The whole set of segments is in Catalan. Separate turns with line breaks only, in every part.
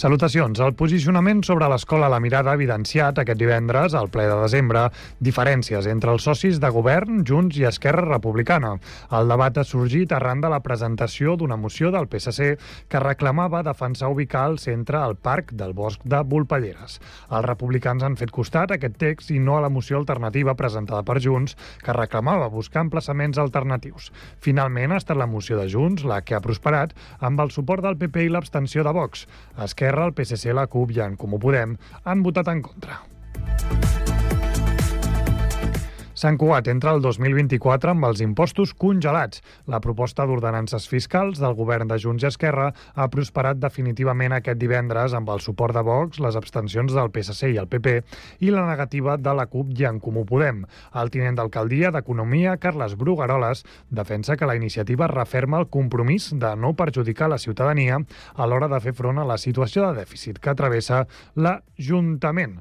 Salutacions. El posicionament sobre l'escola La Mirada ha evidenciat aquest divendres, al ple de desembre, diferències entre els socis de govern, Junts i Esquerra Republicana. El debat ha sorgit arran de la presentació d'una moció del PSC que reclamava defensar ubicar el centre al Parc del Bosc de Volpelleres. Els republicans han fet costat a aquest text i no a la moció alternativa presentada per Junts, que reclamava buscar emplaçaments alternatius. Finalment ha estat la moció de Junts la que ha prosperat amb el suport del PP i l'abstenció de Vox. Esquerra Esquerra, el PSC, la CUP i en Comú Podem han votat en contra. Sant Cugat entra el 2024 amb els impostos congelats. La proposta d'ordenances fiscals del govern de Junts i Esquerra ha prosperat definitivament aquest divendres amb el suport de Vox, les abstencions del PSC i el PP i la negativa de la CUP i en Comú Podem. El tinent d'alcaldia d'Economia, Carles Brugaroles, defensa que la iniciativa referma el compromís de no perjudicar la ciutadania a l'hora de fer front a la situació de dèficit que travessa l'Ajuntament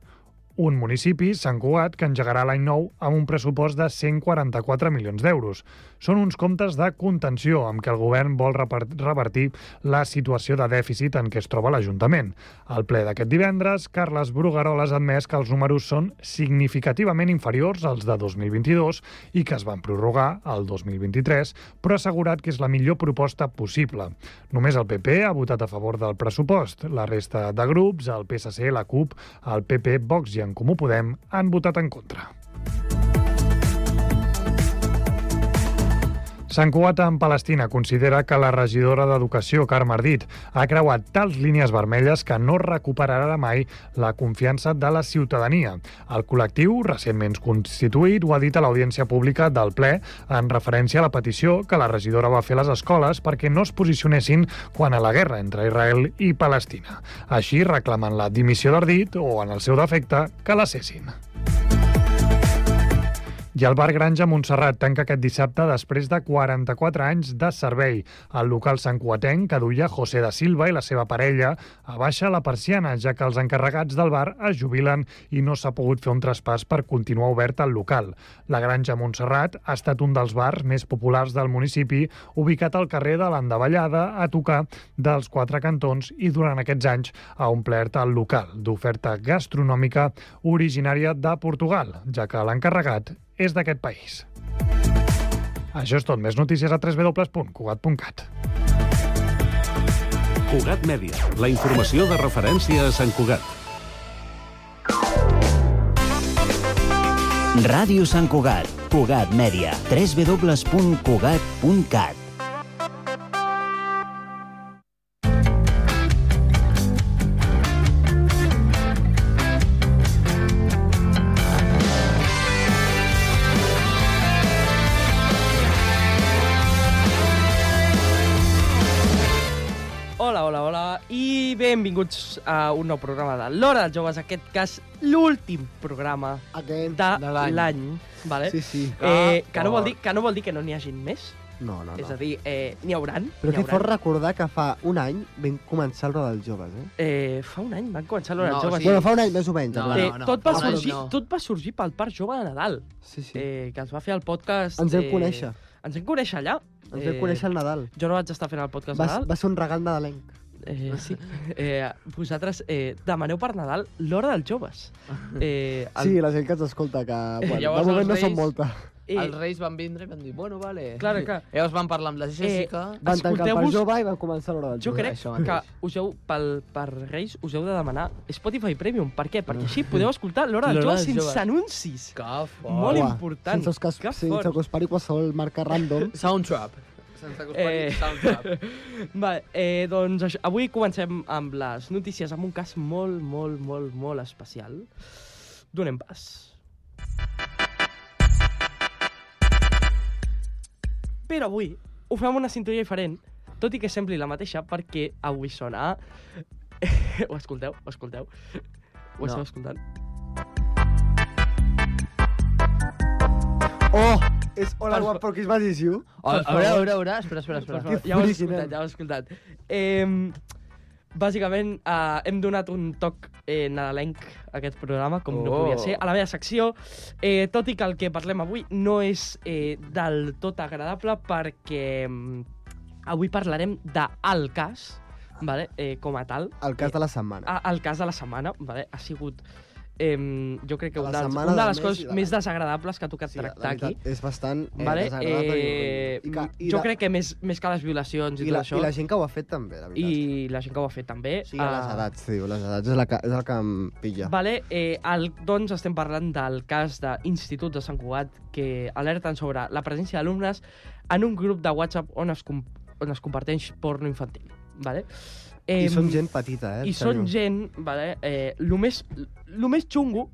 un municipi, Sant Cugat, que engegarà l'any nou amb un pressupost de 144 milions d'euros. Són uns comptes de contenció amb què el govern vol revertir la situació de dèficit en què es troba l'Ajuntament. Al ple d'aquest divendres, Carles Brugaroles ha admès que els números són significativament inferiors als de 2022 i que es van prorrogar al 2023, però ha assegurat que és la millor proposta possible. Només el PP ha votat a favor del pressupost. La resta de grups, el PSC, la CUP, el PP, Vox i en en Comú Podem han votat en contra. Sant Cugat en Palestina considera que la regidora d'Educació, Carme Ardit, ha creuat tals línies vermelles que no recuperarà mai la confiança de la ciutadania. El col·lectiu, recentment constituït, ho ha dit a l'audiència pública del ple en referència a la petició que la regidora va fer a les escoles perquè no es posicionessin quan a la guerra entre Israel i Palestina. Així reclamen la dimissió d'Ardit o, en el seu defecte, que la cessin. I el Bar Granja Montserrat tanca aquest dissabte després de 44 anys de servei. El local santcuatenc que duia José da Silva i la seva parella abaixa la persiana, ja que els encarregats del bar es jubilen i no s'ha pogut fer un traspàs per continuar obert al local. La Granja Montserrat ha estat un dels bars més populars del municipi, ubicat al carrer de l'Endavallada, a tocar dels quatre cantons i durant aquests anys ha omplert el local d'oferta gastronòmica originària de Portugal, ja que l'encarregat és d'aquest país. Això és tot. Més notícies a www.cugat.cat.
Cugat Mèdia, la informació de referència a Sant Cugat.
Ràdio Sant Cugat, Cugat Mèdia, www.cugat.cat.
Hola, hola, hola i benvinguts a un nou programa de l'Hora dels Joves, en aquest cas l'últim programa
Aquest
de,
de l'any.
l'any, vale?
Sí, sí.
Eh,
Ah,
que, no vol
fort.
dir, que no vol dir que no n'hi hagin més,
No, no, no.
és a dir, eh, n'hi hauran.
Però
n'hi
que fort
hauran.
recordar que fa un any vam començar el Roda dels Joves, eh?
Eh, fa un any van començar l'Hora dels
No,
Joves.
sí.
Bueno, fa un any més o menys.
No,
en plan.
Eh,
no, no,
tot, va
fa un any
sorgir,
no.
tot va sorgir pel Parc Jove de Nadal,
Sí, sí.
eh, que ens va fer el podcast...
Ens vam
eh,
conèixer.
Ens vam conèixer allà. Eh,
Ens vam conèixer al Nadal.
Jo no vaig estar fent el podcast
Va,
Nadal.
va ser un regal nadalenc.
Eh, sí. Eh, vosaltres eh, demaneu per Nadal l'Hora dels Joves. Eh, el-
Sí, la gent que ens escolta, que bueno,
Llavors,
de moment
els
no són
Reis-
molta.
eh,
Els reis van vindre i van dir, bueno, vale.
Clar, clar.
Llavors van parlar amb la Jessica.
Van tancar el Parc
Escolteu-vos-
Jove i van començar l'Hora dels
Jo
Joves.
crec
això
que
mateix.
us heu, pel, per Reis us heu de demanar Spotify Premium. Per què? Perquè així podeu escoltar l'Hora dels
L'Hora
Joves
dels
sense
Joves.
anuncis.
Que fort.
Molt
Uah,
important.
Sense, que,
Que
es- sense
fort.
que us pari qualsevol marca random.
Soundtrap. Sense que us pari,
Eh.
soundtrap.
Va, eh, doncs això, avui comencem amb les notícies, amb un cas molt, molt, molt, molt especial. Donem pas. Però avui ho fem amb una cinturia diferent, tot i que sembli la mateixa, perquè avui sona... ho escolteu? Ho escolteu? Ho
No.
esteu escoltant?
Oh! És Hola,
Per
What Pork is Bad Is You.
A, a veure, a veure, espera, espera, espera.
Ja ho he
Original.
escoltat, ja ho he escoltat. Eh, Bàsicament, eh, hem donat un toc eh, nadalenc a aquest programa, com no podia
Oh.
ser, a la meva secció, eh, tot i que el que parlem avui no és eh, del tot agradable perquè mm, avui parlarem de el cas, vale? eh, com a tal.
El cas de la setmana.
Ah, el cas de la setmana vale? ha sigut eh, jo crec que
De la
un dels,
setmana,
una de
del
les
mes i
coses
de
més
l'any.
desagradables que ha tocat
la
tractar
veritat,
aquí.
És bastant eh,
Vale?
desagradable i
Eh,
horrible. I, que- i
jo
la-
crec que més, més que les violacions i,
i
tot
la,
això,
I la gent que ho ha fet també, la veritat.
i la gent que ho ha fet també.
Sí, a les
eh,
edats, tio, les edats és, la que, és el que em pilla.
Vale, eh, el, doncs estem parlant del cas d'Institut de Sant Cugat que alerten sobre la presència d'alumnes en un grup de WhatsApp on es, com on es comparteix porno infantil. Vale?
I
Em,
són gent petita, eh?
I són gent, vale, eh, lo, més, lo més xungo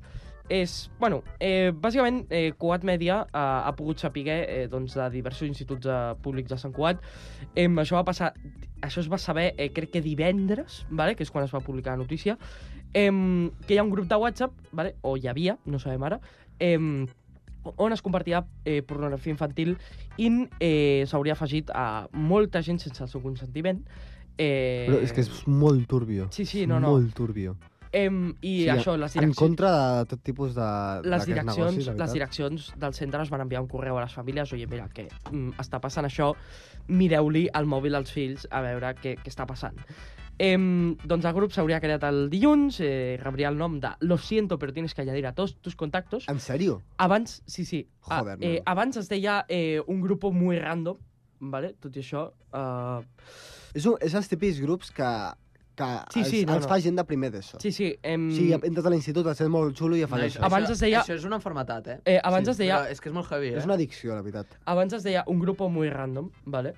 és, bueno, eh, bàsicament eh, Cugat Media eh, ha pogut saber eh, doncs, de diversos instituts eh, públics de Sant Cugat. Eh, això va passar, això es va saber eh, crec que divendres, vale, que és quan es va publicar la notícia, eh, que hi ha un grup de WhatsApp, vale, o hi havia, no sabem ara, eh, on es compartia eh, pornografia infantil i eh, s'hauria afegit a molta gent sense el seu consentiment. Eh,
Però és que és molt turbio.
Sí, sí, no, no.
Molt turbio.
Em, I
Sí,
això, les
En
direccions...
contra de tot tipus de...
les
d'aquest
direccions,
negoci,
les
la veritat.
direccions del centre es van enviar un correu a les famílies oye, mira, que mm, està passant això, mireu-li al mòbil als fills a veure què, què està passant. Em, doncs el grup s'hauria creat el dilluns, eh, rebria el nom de Lo siento, pero tienes que añadir a todos tus contactos.
En sèrio?
Abans, sí, sí, a-
Joder,
eh,
nano.
abans es deia eh, un grup muy random, ¿vale? tot i això... Eh,
És, un, és els típics grups que, que
Sí, sí,
els,
no,
els
no.
fa gent de primer d'ESO.
sí, sí, em,
O sigui, entres a l'institut, et sents molt xulo i ja fas
No,
això.
abans es deia-
Això és una enfermetat, eh?
eh, abans
sí,
es deia
Però és que és molt heavy, eh?
És una addicció, la veritat.
abans es deia un grup muy random, ¿vale?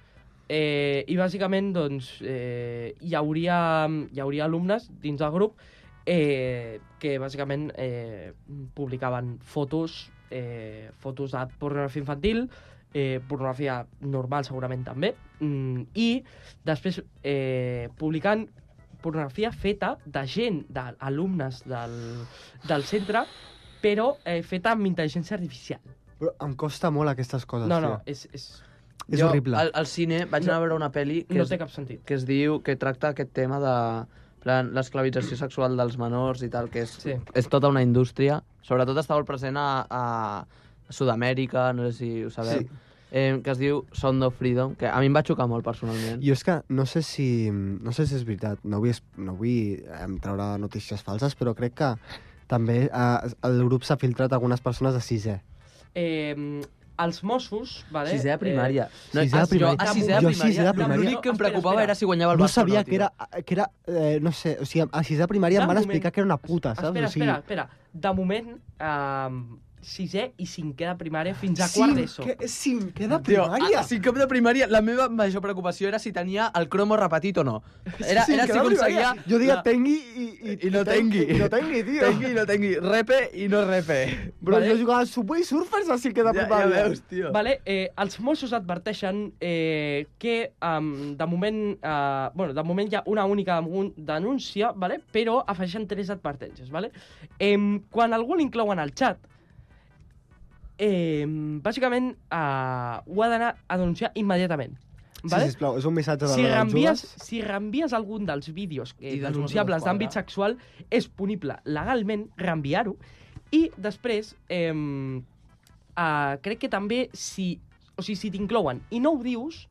Eh, I bàsicament, doncs, eh, hi, hauria, hi hauria alumnes dins del grup eh, que bàsicament eh, publicaven fotos, eh, fotos de pornografia infantil, eh, pornografia normal segurament també, mm, i després eh, publicant pornografia feta de gent, d'alumnes del, del centre, però eh, feta amb intel·ligència artificial.
Però em costa molt aquestes coses,
No, no,
tio.
és, és,
És horrible.
Al, al cine vaig
No-
anar a veure una pel·li que,
no
es,
té cap sentit.
que es diu, que tracta aquest tema de en plan l'esclavització sexual dels menors i tal, que és,
Sí.
és tota una indústria. Sobretot està molt present a, a Sud-amèrica, no sé si ho sabeu,
Sí.
eh, que es diu Sound of Freedom, que a mi em va xocar molt personalment.
Jo és que no sé si, no sé si és veritat, no vull, es- no vull em treure notícies falses, però crec que també eh, el grup s'ha filtrat algunes persones de sisè.
eh, els Mossos... Vale, eh,
Sisè de primària.
Sisè de
a-
primària.
ah, Jo, a sisè de
Jo
primària.
sisè de primària.
L'únic que em
Espera,
preocupava
espera.
era si guanyava el
No
Barça o
sabia
tio.
que era, que era eh, no sé, o sigui, a sisè de primària
De
em van
moment-
explicar que era una puta, saps?
Espera,
o sigui,
espera, espera. De moment, eh, sisè i cinquè de primària fins a
Cinquè-
quart d'ESO.
Cinquè de
Tio, ah,
primària?
a, a cinquè de primària, la meva major preocupació era si tenia el cromo repetit o no. Era, era si
Cinquè de
aconseguia...
primària. Jo diria
la-
tengui i, i,
I no tengui.
I no tengui, tio.
Tengui, no tengui. Repe i no repe.
Però
Vale.
jo jugava al Subway Surfers a cinquè de
Ja, ja
primària.
veus, tio.
Vale, eh, els Mossos adverteixen eh, que um, de moment eh, bueno, de moment hi ha una única demun- denúncia, vale? però afegeixen tres advertències. Vale? Em, quan algú l'inclou en el xat, eh, bàsicament eh, ho ha d'anar a denunciar immediatament. Vale?
Sí, sisplau, és un missatge de
si
les
reenvies,
joves.
si reenvies algun dels vídeos eh,
I dels
denunciables
Mossos d'Esquadra.
d'àmbit sexual, és punible legalment reenviar-ho. I després, eh, eh, crec que també si, o sigui, si t'inclouen i no ho dius,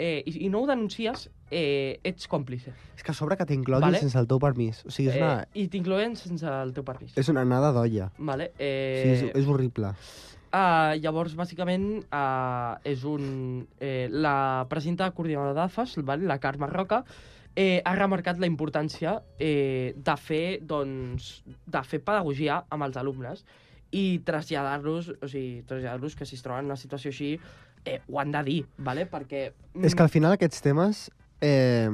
eh, i, i no ho denuncies, eh, ets còmplice.
És que a sobre que t'incloguin
Vale.
sense el teu permís. O sigui, és una,
Eh, I t'inclouen sense el teu permís.
és una anada d'olla.
Vale,
O
eh,
sigui, és, és horrible.
Uh, llavors, bàsicament, uh, és un... Eh, la presidenta coordinadora d'AFAS, vale, la Carme Roca, eh, ha remarcat la importància eh, de, fer, doncs, de fer pedagogia amb els alumnes i traslladar-los, o sigui, traslladar-los que si es troben en una situació així, eh, ho han de dir, vale? perquè... mm,
És que al final aquests temes eh,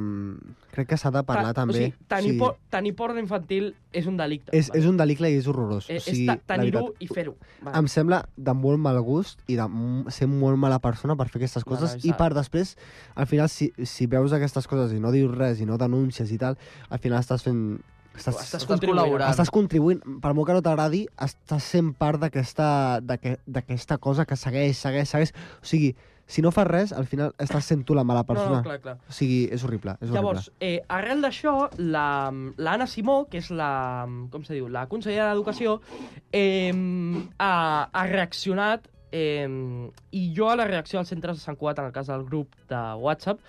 crec que s'ha de parlar
ta-
també.
O sigui, tenir, sí. por, tenir porno infantil és un delicte.
és, és un delicte i és horrorós.
Eh,
o sigui,
és ta-
la
tenir-ho
veritat,
i fer-ho. Vale.
Em sembla de molt mal gust i de m- ser molt mala persona per fer aquestes
No, no,
coses
és
i
de-
per després, al final, si, si veus aquestes coses i no dius res i no denuncies i tal, al final estàs fent... Estàs,
Estàs
Estàs
contribuint.
col·laborant.
Estàs contribuint, per molt que no t'agradi, estàs sent part d'aquesta d'aquest- d'aquesta cosa que segueix, segueix, segueix. O sigui, si no fas res, al final estàs sent tu la mala
No,
persona.
no, clar, clar.
O sigui, és horrible. És horrible.
Llavors, eh, arrel d'això, la- l'Anna Simó, que és la, com se diu, la consellera d'Educació, eh, ha, ha reaccionat, eh, i jo a la reacció dels centres de Sant Cugat, en el cas del grup de WhatsApp,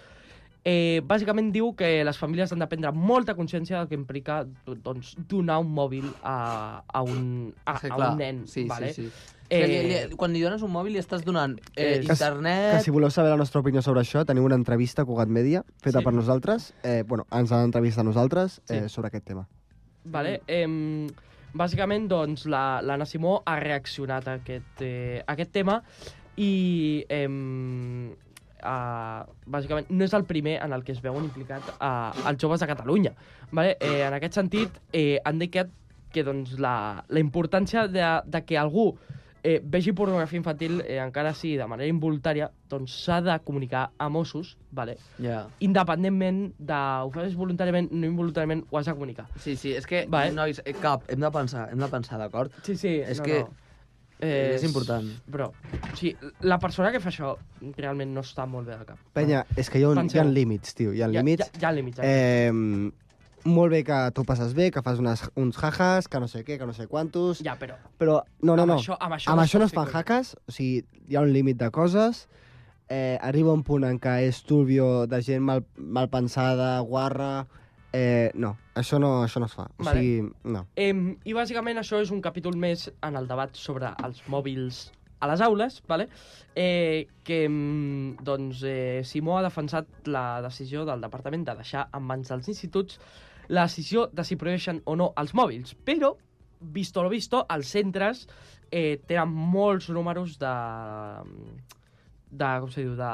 eh, bàsicament diu que les famílies han de prendre molta consciència del que implica doncs, donar un mòbil a, a, un, a,
Sí,
a
clar.
un nen.
Sí,
vale?
sí, sí. Eh... Li, li,
Eh,
quan li dones un mòbil li estàs donant eh,
Eh, que si-
Que
internet...
si voleu saber la nostra opinió sobre això, teniu una entrevista a Cugat Media,
Sí.
feta sí. per nosaltres. Eh, bueno, ens han entrevistat a nosaltres eh,
Sí.
sí. sobre aquest tema.
Vale, em, bàsicament, doncs, la- l'Anna Simó ha reaccionat a aquest, eh, a aquest tema i, em, a, bàsicament, no és el primer en el que es veuen implicats a, els joves de Catalunya. Vale? Eh, en aquest sentit, eh, han dit que, que doncs, la, la importància de, de que algú eh, vegi pornografia infantil, eh, encara sigui de manera involuntària, doncs s'ha de comunicar a Mossos, vale?
Yeah.
independentment de ho fas voluntàriament, no involuntàriament, ho has de comunicar.
Sí, sí, és que,
Vale.
vale. nois, eh, cap, hem de pensar, hem de pensar, d'acord?
Sí, sí,
És
no,
que
no.
és important.
Però, o sigui, la persona que fa això realment no està molt bé de cap.
Penya, és que hi ha, un, hi
Ah, Penseu.
ha límits, tio, hi ha
ja,
límits.
ja, ja al límit. Ja. Eh...
Eh, molt bé que tu passes bé, que fas unes, uns jajas, que no sé què, que no sé quantos...
ja, però
Però, no, no,
amb
no.
això, amb això,
Amb
no
això no
es
es fan
pot fer
hackers, o sigui, hi ha un límit de coses. Eh, arriba un punt en què és turbio de gent mal, mal pensada, guarra... Eh, no, això no, això no es fa. O
Vale.
sigui, no.
Em, I bàsicament això és un capítol més en el debat sobre els mòbils a les aules, vale? eh, que em, doncs, eh, Simó ha defensat la decisió del departament de deixar en mans dels instituts la decisió de si prohibeixen o no els mòbils, però, visto lo visto, els centres eh, tenen molts números de... de com se diu? De,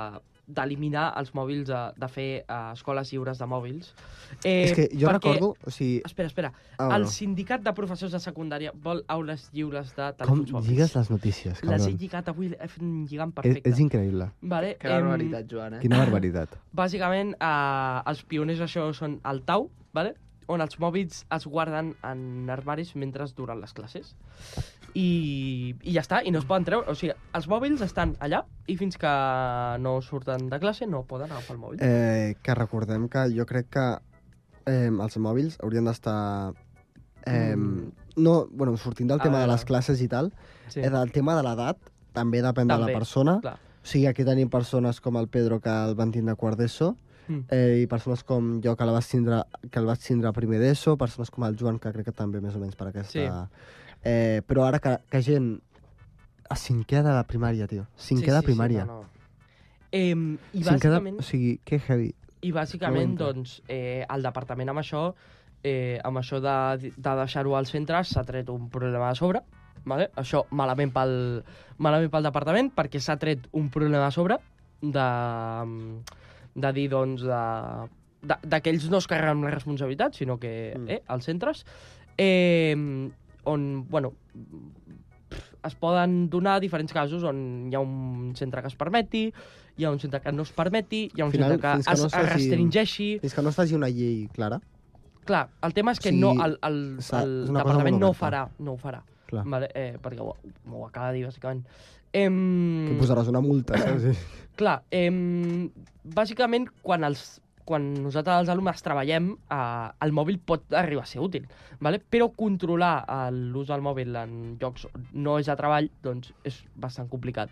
d'eliminar els mòbils, de, de fer eh, escoles lliures de mòbils. Eh,
és que jo
perquè-
recordo... O sigui,
Espera, espera.
ah,
El
bueno,
sindicat de professors de secundària vol aules lliures de
com
telèfons mòbils.
lligues les
Les
notícies,
he
cabron.
lligat avui, he fet un lligam
És,
perfecte.
és increïble.
Vale,
Que
em,
barbaritat, Joan, eh?
Quina
Ah.
barbaritat.
Bàsicament, eh, els pioners d'això són el Tau, vale? on els mòbils es guarden en armaris mentre duren les classes. I, I ja està, i no es poden treure. O sigui, els mòbils estan allà i fins que no surten de classe no poden agafar el mòbil.
Eh, que recordem que jo crec que eh, els mòbils haurien d'estar... Eh,
Mm.
No, bueno, sortint del
A
tema de
veure.
les classes i tal,
sí.
Eh, del tema de l'edat, també depèn de
També,
la persona.
clar.
O sigui, aquí tenim persones com el Pedro, que el van tindre a quart d'ESO,
Mm.
eh, i persones com jo, que, la vas tindre, que el vaig tindre a primer d'ESO, persones com el Joan, que crec que també més o menys per aquesta... Eh, però ara que, que gent a cinquè de la primària, tio. Cinquè de primària.
no, no. Em, I
Cinquè
bàsicament...
de... O sigui, que heavy.
I bàsicament,
No ho entenc.
doncs, eh, el departament amb això, eh, amb això de, de deixar-ho al centre, s'ha tret un problema de sobre. Vale? Això malament pel, malament pel departament, perquè s'ha tret un problema de sobre de, de dir, doncs, de, de, de que ells no es carreguen la responsabilitat, sinó que
Mm.
eh, als centres, eh, on, bueno, pff, es poden donar diferents casos on hi ha un centre que es permeti, hi ha un centre que no es permeti, hi ha un
Al final,
centre que,
fins que
es,
no
es
es faci-
restringeixi...
Fins que no es faci una llei clara.
Clar, el tema és que
Sí,
no, el, el,
s'ha-
el
és una cosa
departament
molt
no ho
oberta.
farà, no ho farà,
Clar.
vale? eh, perquè ho, ho acaba de dir, bàsicament. Em...
Que posaràs una multa, saps?
Clar, eh, bàsicament, quan, els, quan nosaltres els alumnes treballem, eh, el mòbil pot arribar a ser útil, vale? però controlar el- l'ús del mòbil en llocs on no és de treball doncs és bastant complicat.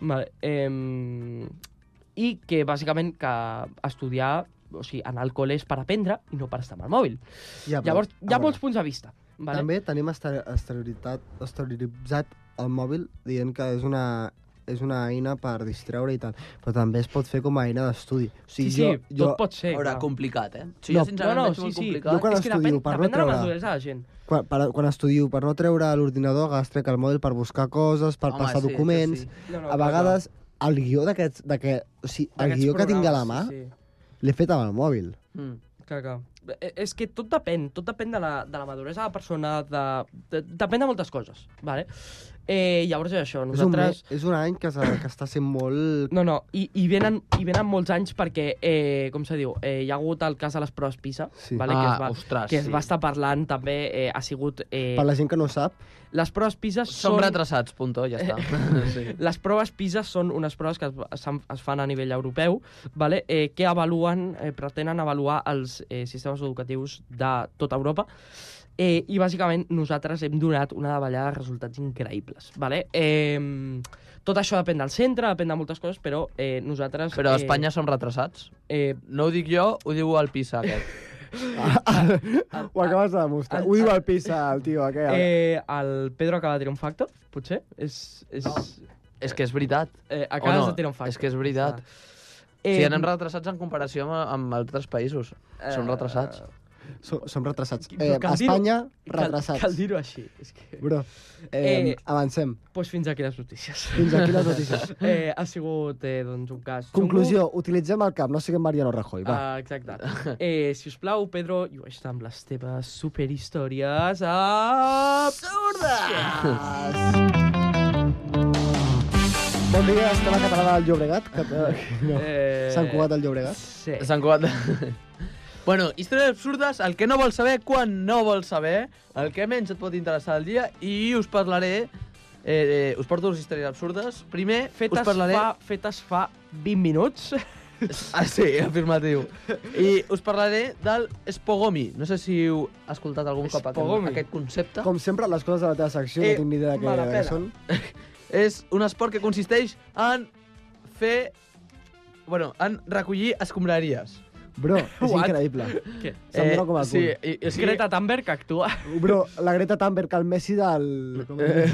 Vale? Eh, I que, bàsicament, que estudiar, o sigui, anar al col·le és per aprendre i no per estar amb el mòbil.
Ja, Ah, però-
Llavors, hi
a
ha molts
veure.
punts de vista. Vale?
També tenim estere- exterioritat- exterioritzat el mòbil dient que és una, és una eina per distreure i tal, però també es pot fer com a eina d'estudi. O
sí,
sigui,
sí,
jo, jo,
tot pot ser.
A veure,
clar.
complicat, eh? Si
No.
jo, sincerament,
No, no,
veig molt
sí, sí.
complicat.
Jo quan
és que
estudio,
depèn, depèn
per no
de la
treure-
maduresa de la gent.
quan, per, quan estudio per no treure l'ordinador, agafes trec el mòbil per buscar coses, per
Home,
passar
sí, això
documents...
sí.
No, no, clar,
A
clar.
vegades, el guió d'aquests... De que, o sigui, el
D'aquests
guió que tinc a la mà
programes,
l'he fet amb el mòbil.
Mm.
Sí, sí. Clar, clar. eh, és que tot depèn, tot depèn de la, de la maduresa de la persona, de, de, depèn de moltes coses, vale? Eh, llavors és això,
És, un,
nosaltres...
me- és un any que, s'ha- que està sent molt...
No, no, i, i, venen, i venen molts anys perquè, eh, com se diu, eh, hi ha hagut el cas de les proves PISA,
Sí.
vale, que, es va,
ostres,
que es va estar parlant també, eh, ha sigut... Eh,
Per la gent que no sap,
Les proves PISA
Som
són... Eh.
retrasats, punto, ja està. sí.
Les proves PISA són unes proves que es, s'han- es fan a nivell europeu vale? eh, que avaluen, eh, pretenen avaluar els eh, sistemes educatius de tota Europa eh, i bàsicament nosaltres hem donat una davallada de resultats increïbles. Vale? Eh, tot això depèn del centre, depèn de moltes coses, però eh, nosaltres...
Però a Espanya som retrasats.
Eh, eh,
No ho dic jo, ho diu el PISA aquest.
Ah,
ho acabes de demostrar.
el-
Ho diu el Pisa, el tio aquest.
ah, eh, el Pedro acaba de tirar un factor, potser? És, és, no.
és que és veritat.
eh, acabes
O no,
de tirar un factor.
és que és veritat. Eh,
Eh,
si anem retrasats en comparació amb, amb altres països.
Eh,
Som retrasats.
Som, som retrasats.
Però
Eh,
cal dir-ho.
Espanya,
Cal,
retrasats.
cal dir-ho així. És que...
Bro, eh,
Eh,
avancem.
Pues fins aquí les notícies.
Fins aquí les notícies.
Eh, ha sigut eh, doncs, un cas...
Conclusió, utilitzem el cap, no siguem Mariano Rajoy, va.
Uh, exacte. Eh, si us plau, Pedro, llueix-te amb les teves superhistòries absurdes!
Bon dia, estem a Català del Llobregat. Cat... No.
Ah. Eh,
Sant Cugat del Llobregat.
Sí.
Sant Cugat... bueno, històries absurdes, el que no vols saber quan no vols saber, el que menys et pot interessar al dia, i us parlaré... Eh, eh, us porto les històries absurdes. Primer,
Fetes,
us parlaré...
fa, fetes fa 20 minuts.
Ah, sí, afirmatiu. I us parlaré del Spogomi. No sé si heu escoltat algun cop aquest,
Spogomi.
aquest concepte.
Com sempre, les coses de la teva secció eh,
Eh,
no tinc ni idea de
me la
què, de
pela.
què són.
És un esport que consisteix en fer... Bueno, en recollir escombraries. Eh,
Bro, és
What? Eh,
increïble.
Què?
Se'm dona com el
sí,
cul.
i, i,
És
sí,
Greta Thunberg que actua.
Bro, la Greta Thunberg, el Messi del...
Eh.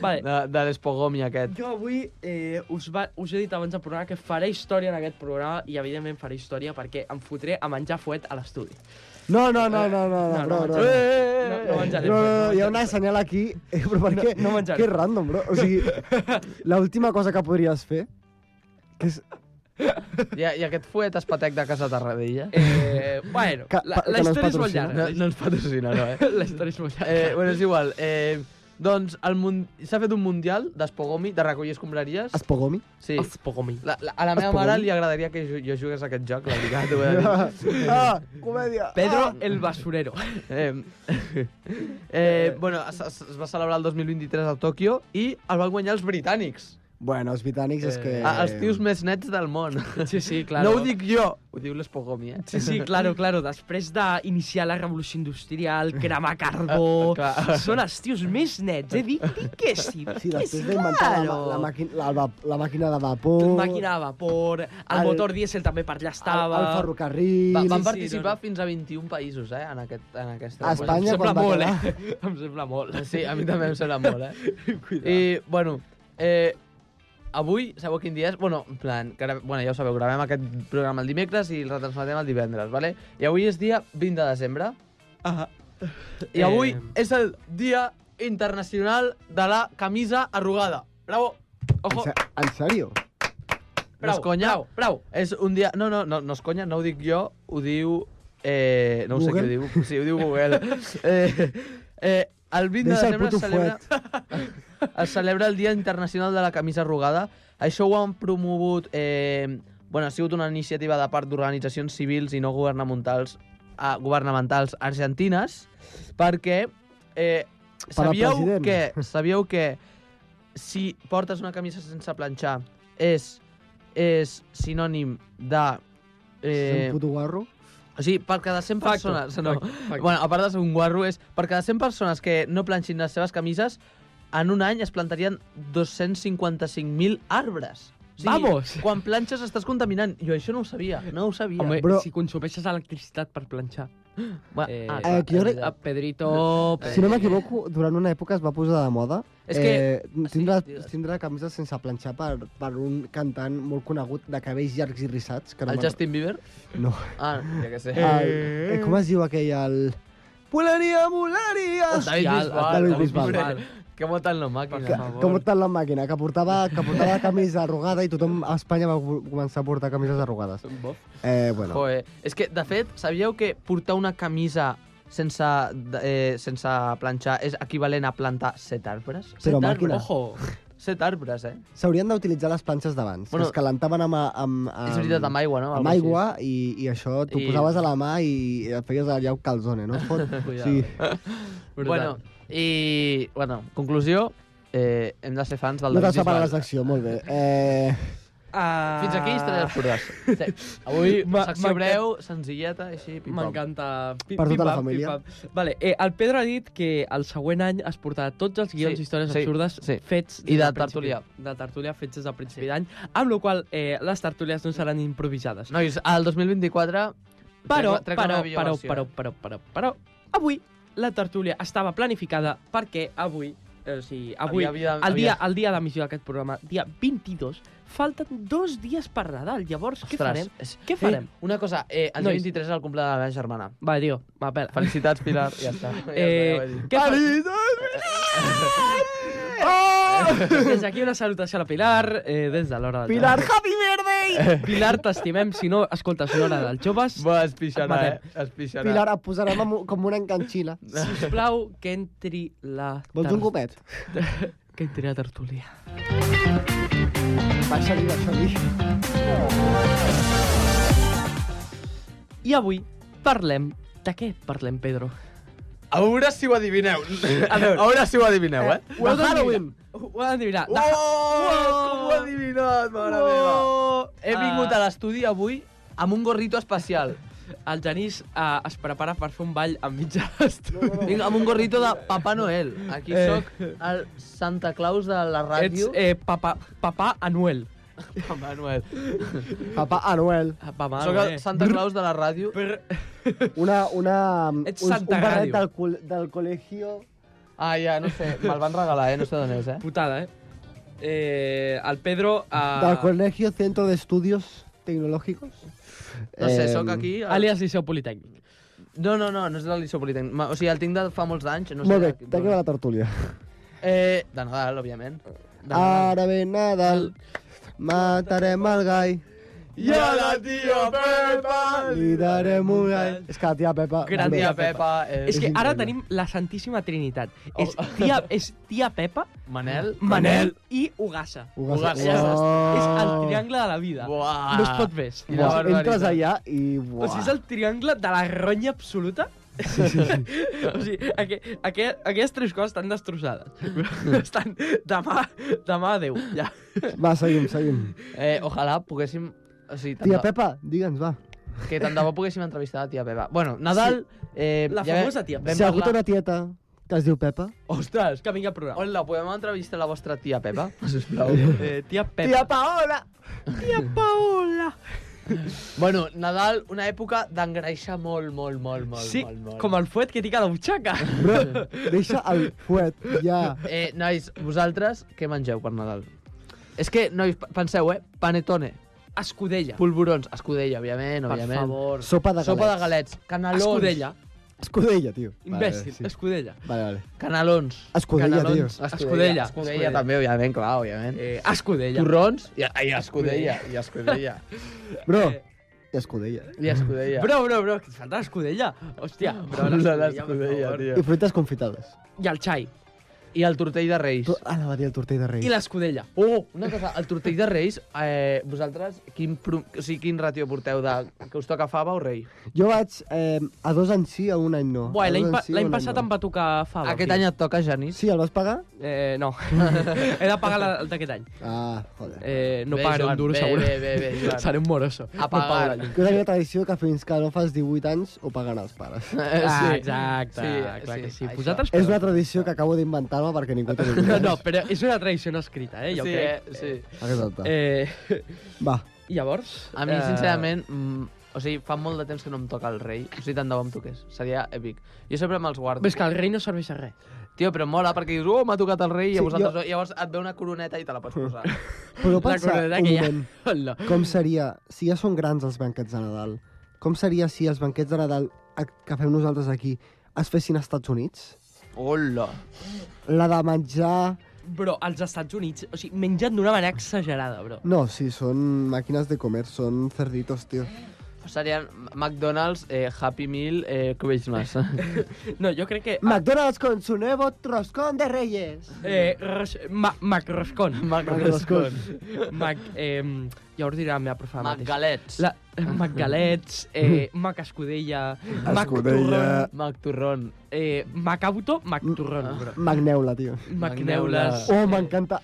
Vale.
de, de l'espogomi aquest.
Jo avui eh, us, va, us he dit abans del programa que faré història en aquest programa i evidentment faré història perquè em fotré a menjar fuet a l'estudi.
No, no, no, no, no, no,
No,
bro,
no,
no.
Eh,
no. No,
no.
no
No,
menjaré
no,
fuet.
no, hi ha
menjaré
una
fuet.
senyal aquí, eh, però per què?
no menjaré.
Que random, bro. O sigui, l'última cosa que podries fer, que és
I, I aquest fuet espatec de Casa Tarradella.
Eh, bueno,
Que-
la,
que
la
no
història és
ens
molt
patrocina.
llarga.
No, no ens patrocina, no, eh?
La història és molt llarga.
eh bueno, és igual. Eh, doncs el mun- s'ha fet un mundial d'espogomi, de recollir escombraries.
Espogomi.
Sí.
Els Pogomi.
La, la, a la meva
Espogomi?
mare li agradaria que jo, jo jugués a aquest joc, la veritat. t'ho he de dir.
Ah, comèdia. Ah.
Pedro el basurero.
Eh, eh, bueno, es, es es va celebrar el 2023 a Tòquio i el van guanyar els britànics.
Bueno, els britànics és que...
Eh... Els tios més nets del món.
Sí, sí, claro.
Claro. No ho dic jo, ho diu l'Espogomi, eh?
Sí, sí, claro, claro. Després d'iniciar la revolució industrial, cremar carbó...
Ah, clar.
són els tios més nets, eh? Dic, dic que sí, dic
Sí,
que
després
sí,
d'inventar la, ma-
claro.
la, màquina, la, va- la màquina de vapor,
Màquina de vapor, el,
El-
motor dièsel també per allà
el,
estava...
el ferrocarril...
Va,
sí,
van
sí,
participar
no, no.
fins a 21 països, eh, en, aquest, en aquesta...
Em
A Espanya,
sembla
quan va
molt,
quedar?
eh? Em sembla molt.
Sí, a mi també em sembla molt, eh? I, bueno, eh, avui, sabeu quin dia és? Bueno, en plan, que ara, bueno, ja ho sabeu, gravem aquest programa el dimecres i el retransmetem el divendres, vale? I avui és dia 20 de desembre.
Ah,
I avui
Eh.
és el Dia Internacional de la Camisa Arrugada. Bravo!
En,
Ojo,
se- en sèrio?
no
bravo,
és conya.
bravo, bravo.
És un dia... No, no, no, no és conya, no ho dic jo, ho diu... Eh, no ho sé
Google?
qui ho diu. Sí, ho diu Google. eh, eh, el 20
Deixa
de
el
desembre
puto
es celebra, es celebra el Dia Internacional de la Camisa Arrugada. Això ho han promogut... Eh, bueno, ha sigut una iniciativa de part d'organitzacions civils i no governamentals, eh, governamentals argentines perquè eh,
Per al
sabíeu
president.
que, sabíeu que si portes una camisa sense planxar és, és sinònim de...
Eh...
Eh,
Un puto guarro?
o sigui, per cada 100
Facto,
persones... No,
facto, facto.
Bueno, a part de ser un guarro, és per cada 100 persones que no planxin les seves camises, en un any es plantarien 255.000 arbres. O sigui,
Vamos!
Quan planxes estàs contaminant. Jo això no ho sabia, no ho sabia.
Home,
Bro.
si consumeixes electricitat per planxar.
Va, ah,
eh,
clar,
eh, que jo
és
crec-
veritat.
Pedrito...
Si no m'equivoco, durant una època es va posar de moda
Eh. És que- Ah,
eh, tindre,
sí, digues.
tindre camises sense planxar per, per un cantant molt conegut de cabells llargs i rissats. Que no
El
me'n-
Justin Bieber?
No.
Ah, ja que sé.
El, eh, com es diu aquell? El... Volaria, volaria!
David
Hòstia,
Bisbal,
David
David
Bisbal.
Bisbal. Que voten la màquina.
Que, que portant la màquina, que portava, que portava camisa arrugada i tothom a Espanya va vo- començar a portar camises arrugades. Eh, bueno,
Joder. És que, de fet, sabíeu que portar una camisa sense, de- eh, sense planxar és equivalent a plantar set arbres? Set
Però
arbres.
màquina.
Ojo! Set arbres, eh?
s'haurien d'utilitzar les planxes d'abans. Bueno,
Bueno,
es calantaven amb, amb, amb,
és veritat, amb aigua, no?
Amb
Algo
aigua
així.
i, i això t'ho
I-
posaves a la mà i et feies allà un calzone, no? Fot, sí.
Bueno, i... Bueno, conclusió, eh, hem de ser fans del
No t'has
David
separat la
Bisbal.
secció, molt bé. Eh,
Ah,
Fins aquí història d'Empordàs. Sí. Avui,
Ma-
secció
m'encan-
breu, senzilleta, així, pim-pam.
M'encanta. Pi-
Per tota
pim-pam,
la família.
pim-pam. Vale, eh, el Pedro ha dit que el següent any es portarà tots els guions
Sí,
d'històries
sí,
absurdes
sí.
fets...
I de
del principi-
Tertúlia.
De Tertúlia fets des del principi d'any, amb la qual cosa, eh, les tertúlies no seran improvisades.
Nois, al 2024...
Però,
trec- trec una
però,
millor
però,
versió,
però,
eh?
però, però, però, avui la tertúlia estava planificada perquè avui, eh, o sigui, avui,
Havia- havia-
el dia,
havia-
el dia d'emissió d'aquest programa, dia 22, falten dos dies per Nadal. Llavors, què
Ostres,
farem?
és-
Què farem?
Eh, una cosa, eh, el dia
Nois.
23 és el cumple de la meva germana.
Va, tio, va, pela.
Felicitats, Pilar. Ja està. Ja està, ja ho he
Eh,
dit.
què fa-
Eh.
Oh! Des d'aquí una salutació a la Pilar, eh, des de l'hora del
Pilar,
jove.
happy birthday!
Pilar, t'estimem. Si no, escoltes l'hora dels joves,
Bé, es pixarà,
Matem.
eh? Es pixarà.
Pilar, et posarem amb- com una enganxina.
sisplau, que entri la...
Vols
ter-
un copet?
Que entri la tertúlia.
Baixa-li, baixa-li.
I avui parlem... De què parlem, Pedro?
A veure si ho adivineu. A veure, a veure si ho adivineu, eh?
Ho heu d'endevinar. Ho heu d'endevinar.
Oh,
De
com ho ha adivinat, mare
Oh!
meva. He vingut
Ah.
a l'estudi avui amb un gorrito especial.
El Genís eh, es prepara per fer un ball a mitja estona.
Vinc amb un gorrito de Papà Noel. Aquí
Eh.
sóc el Santa Claus de la
Ets
ràdio.
eh, papà, papà Anuel.
Papà Noel.
Papa Anuel.
Ah, Papà
Sóc el
Anuel.
Santa Claus de la ràdio.
Una, una, mm, un,
Ets
un
Santa
barret
Ràdio.
del, col, del col·legio...
Ah, ja, no sé. Me'l van regalar, eh? No sé d'on és, eh?
Putada, eh? eh el Pedro... Eh,
Ah.
Del Colegio Centro de Estudios Tecnológicos.
No sé,
Em,
sóc aquí... al-
Alias Liceu Politécnic.
No, no, no, no és de l'Iso Politècnic. Ma- O sigui, el tinc de fa molts anys. No sé
Molt bé,
de-
de què va la tertúlia?
Eh, de Nadal, òbviament. De Nadal.
Ara ve Nadal, matarem el gai,
I a la tia Pepa!
li darem un gai. És que la tia Pepa...
Gran
molt bé.
Tia Pepa, eh,
És que
És
ara
increïble.
tenim la Santíssima Trinitat.
Oh.
És tia, és tia Pepa,
Manel.
Manel i Ugassa.
Ugassa.
Ugassa.
Uau.
És el triangle de la vida.
Buah.
No es pot més.
I
Uau,
la
Entres
barbaritat.
allà i...
Oh,
O
Uah.
sigui, és el triangle de la ronya absoluta. o sigui, aqu aqu aquestes tres coses estan destrossades. estan de mà, de mà a Déu. Ja.
Va, seguim, seguim.
Eh, ojalà poguéssim... O sigui, tant
Tia
de-
Pepa, digue'ns, va.
que tant de bo poguéssim entrevistar la tia Pepa. Bueno, Nadal... Eh,
La
ja
famosa
ve-
tia Pepa.
vam
Si hi ha hagut
parlar-
una tieta que es diu Pepa...
Ostres, que vingui al programa.
Hola, podem entrevistar la vostra tia Pepa? Sisplau.
Eh, tia Pepa.
Paola!
tia Paola.
bueno, Nadal, una època d'engreixar molt, molt, molt, molt,
Sí,
molt, molt.
com el fuet que tinc a la butxaca.
Bro, deixa el fuet, ja.
Eh, nois, vosaltres què mengeu per Nadal? És que, nois, p- penseu, eh? Panetone,
Escudella.
polvorons, escudella, òbviament,
Per
òbviament.
favor.
Sopa de galets.
Sopa de galets, canelons.
Escudella.
Escudella, tio.
Imbècil.
Vale, sí.
Escudella.
vale, vale.
Canelons.
Escudella,
Canelons.
tio.
Escudella.
Escudella, també, òbviament, clar, òbviament.
Eh, escudella.
Torrons i, i escudella, i escudella,
Bro,
Eh.
escudella.
i escudella.
Bro, bro, bro, que et falta l'escudella. Hòstia, bro, l'escudella, per favor.
I fruites confitades.
I el xai.
I el tortell de Reis.
Tu, ah, la va dir el tortell de Reis.
I l'escudella.
Ah,
Oh, una cosa, el tortell de Reis, eh, vosaltres, quin, pro... o sigui, quin ratio porteu de... que us toca fava o rei?
Jo vaig eh, a dos anys sí, a un any no.
Buah,
A
l'any
dos
pa-
anys sí, a
l'any
un any
passat
no.
em va tocar fava.
Aquest
tio.
any et toca, Genís?
Sí, el vas pagar?
Eh, no. He de pagar la- el d'aquest any.
Ah, joder.
Eh, no
Bé,
pagaré un
Joan,
duro,
bé,
segur.
bé, bé, bé, Joan.
Seré un moroso.
A pagar.
No pago la llum.
Jo tenia la tradició que fins que no fas 18 anys ho paguen els pares.
Eh,
Ah, exacte,
Sí,
clar
sí,
que sí.
això.
Vosaltres...
És una tradició que acabo d'inventar-me perquè ningú té
No, no, però és una tradició no escrita, eh? Jo
sí,
crec.
eh, sí.
Exacte. Eh.
Eh,
Va,
llavors...
A mi,
eh,
sincerament, mm, o sigui, fa molt de temps que no em toca el rei. O sigui, tant de bo em toqués. Seria èpic. Jo sempre me'ls guardo.
Ves que el rei no serveix a res.
Tio, però mola, perquè dius, oh, m'ha tocat el rei, i
Sí,
a vosaltres, no. llavors et ve una coroneta i te la pots posar.
però
La
pensa un
coroneta que hi ha.
moment,
Hola.
com seria, si ja són grans els banquets de Nadal, com seria si els banquets de Nadal a- que fem nosaltres aquí es fessin als Estats Units?
Hola.
La de menjar...
Bro, als Estats Units, o sigui, mengen d'una manera exagerada, bro.
No, sí, són màquines de comer, són cerditos, tio.
Serien McDonald's, eh, Happy Meal, eh, Christmas.
No, jo crec que...
McDonald's con su nuevo roscón de reyes.
Eh, res, ma, Mac Roscon. Mac
Roscon.
Mac, eh, ja us dirà la meva profa ara mateix.
McGalets. La...
La, Mac Galets, eh, Mac Escudella, Mac Torrón,
Escudella.
McTurron.
eh, Mac Auto, Mac Torrón,
Mm. Ah.
bro.
Magneula, tio.
Mac
Mac
Neules.
Oh, m'encanta.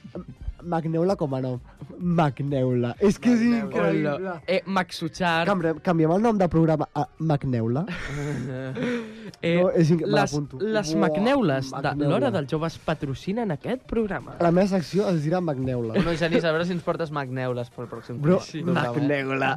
Magneula com a nom. Magneula. És que és increïble.
Hola. Eh, Mac Suchar.
Canviem, canviem el nom de programa a Magneula.
Eh,
No, és inc- me
les,
l'apunto.
les
Uah,
Macneules de
Macneula.
l'Hora dels Joves patrocinen aquest programa.
La meva secció es dirà Magneula.
No, Genís, a veure si ens portes McNeules pel pròxim
Bro,
curs.
Magneula.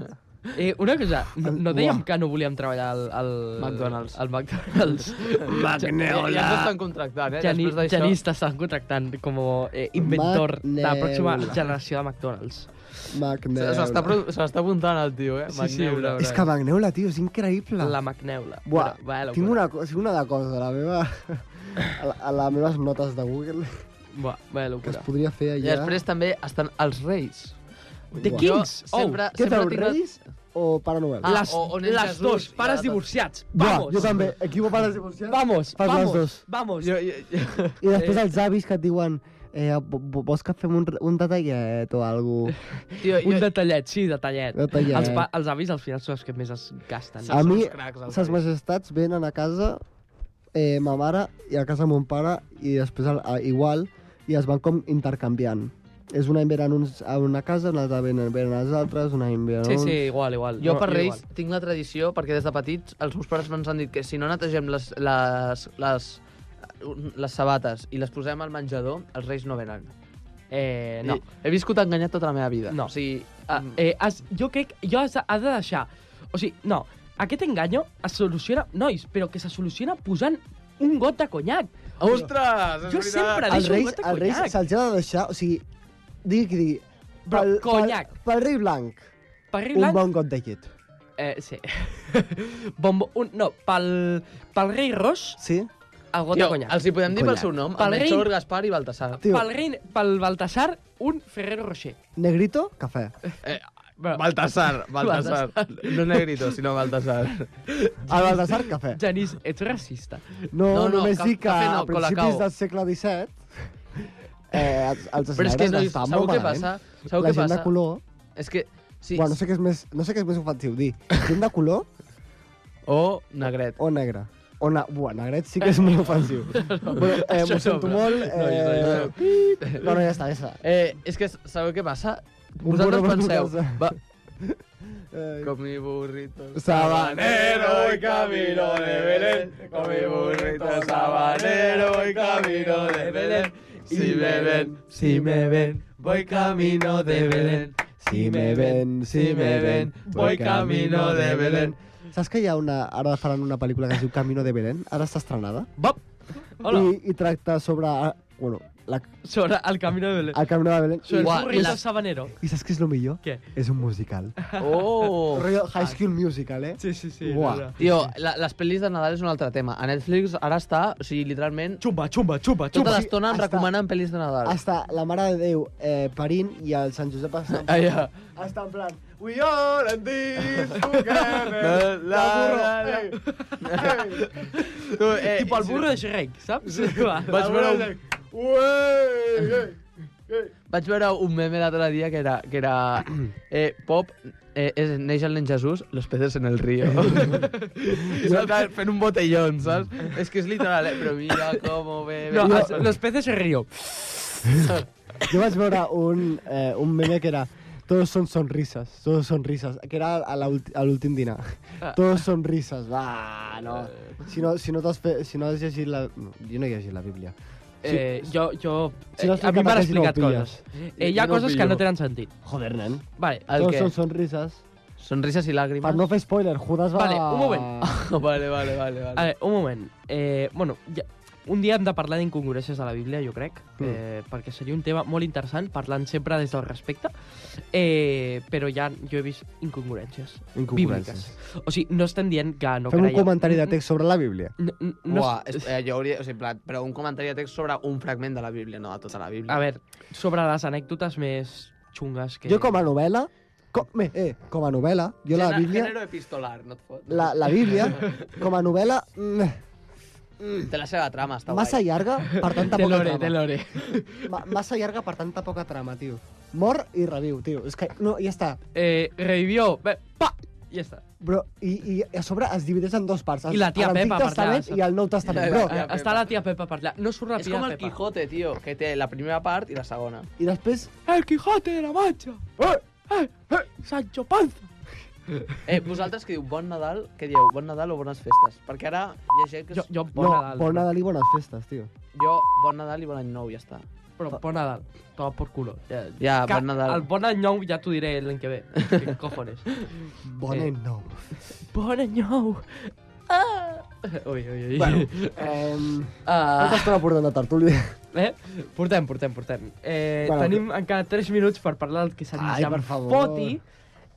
Eh, una cosa, no, no dèiem
Uah.
que no volíem treballar al... al
McDonald's.
Al McDonald's.
Ja, ja ens
Magneula.
estan contractant, eh?
Geni-
Després d'això...
Genís t'estan contractant com a eh, inventor de la pròxima
Macneula.
generació de McDonald's.
Se se
Magneula.
l'està pro- se l'està apuntant el tio, eh?
Sí, sí,
McNeula.
bro.
És que Magneula, tio, és
Ah.
increïble.
La Macneula.
Buah,
Però, vaya
tinc
locura.
una, co- tinc una de cosa, la meva... A, la, a les meves notes de Google,
Buah, vaya
que es
locura.
podria fer
I
allà...
després també estan els reis.
The
Uah.
Kings!
Jo sempre,
Què
sempre
feu,
tinc la-
Reis o Pare Noel?
Ah,
Oh, les
o- o nens
les
Jesús
dos,
i
pares
ara tot.
divorciats.
Buah,
Vamos!
jo també. Aquí ho pares divorciats.
Vamos,
Fas les
vamos,
dos.
vamos.
Jo, jo, jo.
I després els avis que et diuen eh, vo- vo- vols que fem un, re- un detallet o algo?
Tio, jo,
Un detallet, sí, detallet.
Detallet.
Els, pa, els avis al final són els que més es gasten.
A mi,
uns cracs, els
ses
avis.
majestats venen a casa, eh, ma mare i a casa mon pare, i després a, a, igual, i es van com intercanviant. És un any venen uns a una casa, un altre venen, venen als altres, un any venen
Sí,
uns...
sí, igual, igual.
jo per
No,
Reis
igual.
tinc la tradició, perquè des de petits els meus pares ens han dit que si no netegem les, les, les, les sabates i les posem al menjador, els Reis no venen.
Eh, no.
No. He viscut enganyat tota la meva vida.
No.
O sigui,
Ah, eh, has, jo crec... Jo has, de- has de deixar... O sigui, no. Aquest enganyo es soluciona... Nois, però que se soluciona posant un got de conyac.
Ostres,
Jo sempre
Els
deixo un
reis,
got de
els reis
conyac.
se'ls ha de deixar, o sigui, digui qui digui,
Però conyac.
Pel, pel rei blanc,
Per rei
un
blanc...
bon got de llet.
Eh, sí. bon, un, no, pel, pel rei ros,
Sí?
el got
Tio,
de conyac.
els hi podem dir pel
Conyac.
seu nom.
Pel
El
rei-
Melchor, Gaspar i Baltasar.
Tio,
Pel rei... Pel Baltasar, un Ferrero Rocher.
negrito, cafè.
Però,
Eh, Baltasar,
Baltasar.
No Negrito, sinó Baltasar.
Al Baltasar, cafè.
Genís, ets racista.
No,
No,
no,
no,
només
ca-
dic que
cafè no,
a principis
Colacao.
del segle XVII eh, els, els
Però és que,
escenaris
nois,
estan
sabeu
molt
què
malament.
passa? Sabeu
La
què
gent
passa?
de color...
És que...
Sí.
Sí,
Bueno, no sé, què és més, no sé què és més ofensiu dir. Gent de color
O negret.
o negre? O na... Buah, negret sí que és molt ofensiu. Bueno, eh,
Això
m'ho sento
sobra.
molt.
No, això
Eh... No, no, ja està, ja està.
Eh, és que sabeu què passa?
Un
Vosaltres
burro per
penseu...
tu casa.
Va,
Eh,
com mi burrito...
Sabanero
y camino de Belén, con mi burrito sabanero y camino de Belén. Si me ven, si me ven, voy camino de Belén.
Si me ven, si me ven,
voy camino de Belén.
Saps que hi ha una... Ara faran una pel·lícula que es diu Camino de Belén? Ara està estrenada.
Bob! Hola.
I, I tracta sobre... ah, Bueno, la,
Sobre el Camino de Belén.
el Camino de Belén.
Sobre el
Ua,
burrito
les-
sabanero.
I saps què és el millor?
Què?
És un musical.
Oh!
Rollo High School Musical, eh?
Sí, sí, sí.
Buah.
no, no.
Tio, la, les pel·lis de Nadal és un altre tema. A Netflix ara està, o sigui, literalment,
Xumba, xumba, xumba,
tota
xumba.
l'estona ens
Està-
recomanen pel·lis de Nadal.
Hasta la Mare de Déu eh, parint i el Sant Josep estan,
Ah, ja.
estan en plan...
We are in this together.
La burro! Eh,
Tu, eh,
Tipo el burro de Shrek, saps? Sí, va.
Vaig veure, un... Vaig veure un meme l'altre dia que era, que era eh, Pop, eh, és, neix el nen Jesús, los peces en el río. Saps? Fent un botellón, saps? És que és literal, eh? Però mira com bebe...
No,
No,
els, los peces se río.
eh. Jo vaig veure un, eh, un meme que era... Todos son sonrisas, todos sonrisas, que era a la ulti- a l'últim dinar.
Ah.
Todos sonrisas, va,
Eh.
no. Si no, si no, t'has fe... si no has llegit la... No, jo no he llegit la Bíblia.
Eh, jo, jo...
Si no
eh, a mi m'han
explicat res, no ho
explicat coses. Eh, hi ha
No ho
coses que no
pillo.
tenen sentit.
Joder, nen.
Vale,
el
Todos
què?
son sonrisas.
Sonrises i
Per
làgrimes?
no fer spoiler, Judas va...
Vale, un moment.
vale, vale, vale.
a
vale.
veure, un moment. Eh, bueno, ja, un dia hem de parlar d'incongruències de la Bíblia, jo crec, mm. eh, perquè seria un tema molt interessant, parlant sempre des del respecte, eh, però ja jo he vist incongruències,
Incongruències.
bíbliques. O sigui, no estem dient que no
Fem un
creiem...
comentari de text sobre la Bíblia.
No, no,
No
no,
Uah, és, eh, jo hauria... O sigui, en plan, però un comentari de text sobre un fragment de la Bíblia, no de tota la Bíblia.
a veure, sobre les anècdotes més xungues que...
Jo com a novel·la, com, eh, eh, com a novel·la, jo la
Gènere-
Bíblia,
Gènere epistolar, no et fot.
la, la Bíblia, com a novel·la, mm,
Té la seva trama, està
massa
guai.
llarga per tanta
Té
poca
l'ore, té
trama.
l'ore.
Ma, massa llarga per tanta poca trama, tio. Mor i reviu, tio. És que, no, ja està.
Eh, revivió, bé, pa! I ja està.
Bro, i, i a sobre es divideix en dos parts.
I la tia
a l'Antic
Pepa per allà,
Testament
saps?
I el Nou Testament,
Ja,
bro.
ja,
Eh,
Pepa.
està la tia Pepa per allà. No surt la
És
tia
com el
Pepa.
Quijote, tio, que té la primera part i la segona.
I després...
El Quijote de la Mancha.
Eh!
Eh, eh, Sancho Panza.
Eh, vosaltres que diu bon Nadal, què dieu? Bon Nadal o bones festes? Perquè ara hi ha gent que...
Jo, jo bon
no,
Nadal.
bon Nadal i bones festes, tio.
jo bon Nadal i bon any nou, ja està.
Però bon Nadal. Toma por culo. Ja,
Ja,
Que
bon Nadal.
El bon any nou ja t'ho diré l'any que ve. Que cojones.
Bon
Eh.
any nou.
Bon any nou. Ah! Ui, ui, ui.
Bueno, ehm...
Ah,
Quanta estona portem de tertúlia?
eh? Portem, portem, portem. Eh,
Bueno,
tenim encara 3 minuts per parlar del que s'ha
Ai,
dit
per
amb
favor.
Foti.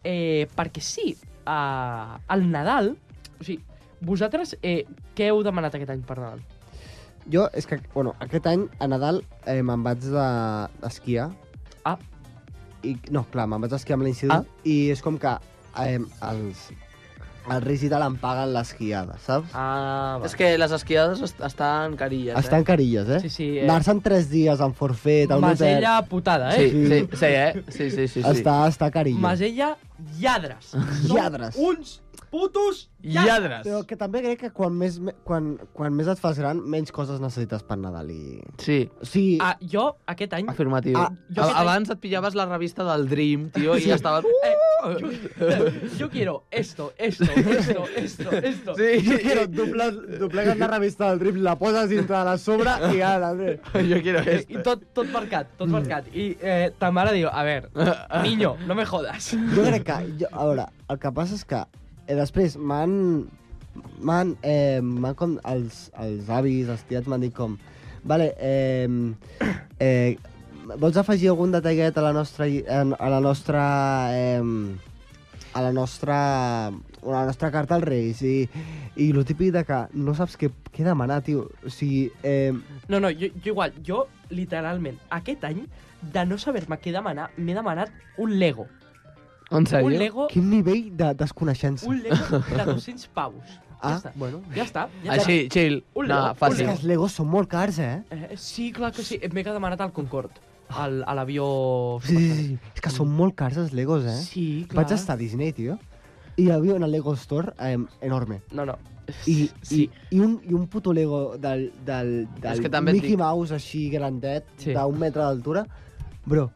Eh, perquè sí, eh, el Nadal... O sigui, vosaltres eh, què heu demanat aquest any per Nadal?
Jo, és que, bueno, aquest any, a Nadal, eh, me'n vaig de- d'esquiar.
Ah.
I, no, clar, me'n vaig d'esquiar amb l'institut. Ah. I és com que eh, els, els Reis i tal em paguen l'esquiada, saps?
Ah, va.
És que les esquiades est estan carilles,
Estan carilles, eh?
Sí, sí. Eh,
Anar-se'n tres dies en forfet, a un hotel...
Masella putada,
eh?
eh?
Sí, sí, sí, eh? Sí, sí, sí. sí.
Està, està carillo.
Masella lladres.
Lladres.
Són uns putos lladres.
Lladres!
Però que també crec que quan més, me- quan, quan més et fas gran, menys coses necessites per Nadal i...
Sí,
O sigui,
Ah, jo, aquest any...
afirmatiu.
Ah,
jo
A-
aquest any-
Abans et pillaves la revista del Dream, tio, i estaves...
Eh, jo, jo quiero esto, esto, esto, esto, esto.
Sí,
jo quiero doblar, doblegar la revista del Drip, la poses dintre de la sobre i ara...
Yo quiero
Eh, I tot, tot marcat, tot marcat. I eh, ta mare diu, a ver, niño, no me jodas.
Jo crec que... Jo, a veure, el que passa és que eh, després m'han... M'han... Eh, m'han com... Els, els avis, els tiets m'han dit com... Vale, eh, eh, vols afegir algun detallet a la nostra... lli- en- A la nostra... Eh, a la nostra, a la nostra carta als Reis i, i lo típic de que no saps què, què demanar, tio. O sigui, eh,
No, no, jo, jo igual, jo literalment aquest any de no saber-me què demanar, m'he demanat un Lego.
En
Un
sèrio?
Lego,
quin nivell de desconeixença.
un Lego de 200 paus.
Ah,
Ja està.
bueno.
Ja està. Ja està.
Així, chill.
Un
No,
Lego,
És
fàcil.
que els Legos són molt cars, eh?
Eh, sí, clar que sí. M'he demanat al Concorde, al, a l'avió...
Sí, sí, sí. És que són molt cars els Legos, eh?
Sí, clar.
Vaig estar a Disney, tio, i hi havia una Lego Store eh, enorme.
No, no.
I,
Sí.
i, i, un, I un puto Lego del, del, del
És que també et
Mickey
dic-
Mouse així grandet,
Sí.
d'un metre d'altura. Bro,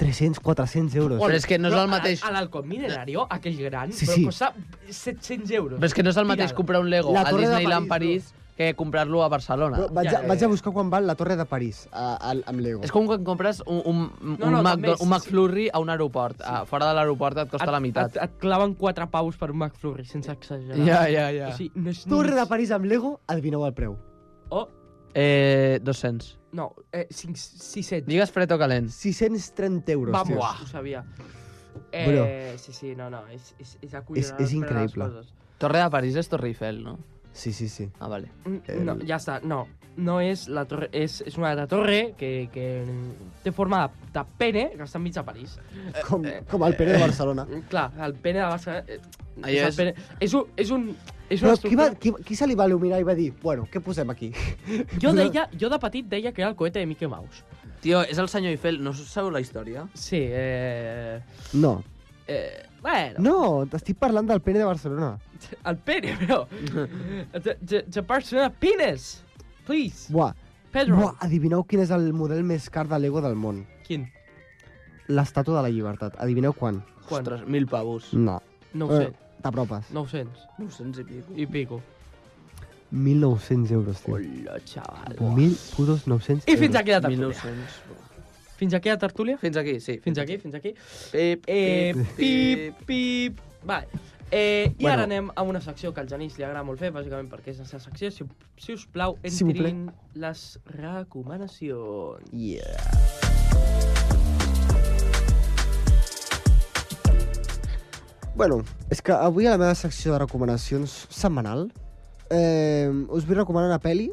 300, 400 euros.
Però és que no és el mateix...
A l'Alcon Milenario, aquell gran, sí,
Sí, sí.
sí. però costa 700 euros.
Però és que no és el mateix
Tirada.
comprar un Lego
La
a
Torre de
Disneyland
París,
París, que comprar-lo a Barcelona.
Bro, vaig,
Ja,
a,
ja,
vaig
ja.
a buscar quan val la Torre de París a, a, amb Lego.
És com quan compres un, un, un,
No, no,
Mac,
també, sí,
un McFlurry a un aeroport. Ah, fora de l'aeroport et costa la
Et,
meitat.
et claven 4 paus per un McFlurry, sense exagerar.
Ja, ja, ja.
O sigui, no és ni
Torre
mig.
de París amb Lego, adivineu el preu.
Oh,
Eh, 200.
no, eh, 5, 600.
Digues fred o calent.
630 euros,
Vamos,
tio.
ho sabia. Eh,
Bro.
Sí, sí, no, no, és, és, és
És-
acollonant.
és
per les
increïble.
coses.
Torre de París és Torre Eiffel, no?
Sí, sí, sí.
Ah, vale.
Mm, No, ja està, no. No és la torre, és, és una altra torre que, que té forma de, de pene que està enmig de París. Mm,
Com, com el Pere de Barcelona.
Clar, el pene de Barcelona... eh,
Allò
el
és-
pene, és, un, és, un, és una
Però qui, va,
estructura...
qui, qui se li va il·luminar i va dir, bueno, què posem aquí?
Jo, deia, jo de petit deia que era el cohete de Mickey Mouse.
Tio, és el senyor Eiffel. No sabeu la història?
Sí, eh...
No,
eh bueno,
No, t'estic parlant del pene de Barcelona.
el pene, bro. the, the, the Barcelona penis. Please,
Buah,
Pedro.
buah, adivineu quin és el model més car de Lego del món.
Quin?
L'estàtua de la llibertat. Adivineu quan?
Quan?
Ostres, mil pavos.
No.
900.
Eh, T'apropes.
900
900 i pico.
i pico.
1.900 euros, tio.
Hola, xaval.
1.000 putos 900
I fins
euros.
aquí la tertúlia.
1900.
Fins aquí la tertúlia?
Fins aquí, sí.
Fins aquí, fins aquí.
Pip,
Eh,
pip,
pip, pip. Vale. Eh, I
Bueno.
ara anem a una secció que al Genís li agrada molt fer, bàsicament perquè és la seva secció. Si, si us plau,
Si vous plaît.
entrin les recomanacions.
Yeah. Bueno, és que avui a la meva secció de recomanacions setmanal eh, us vull recomanar una pel·li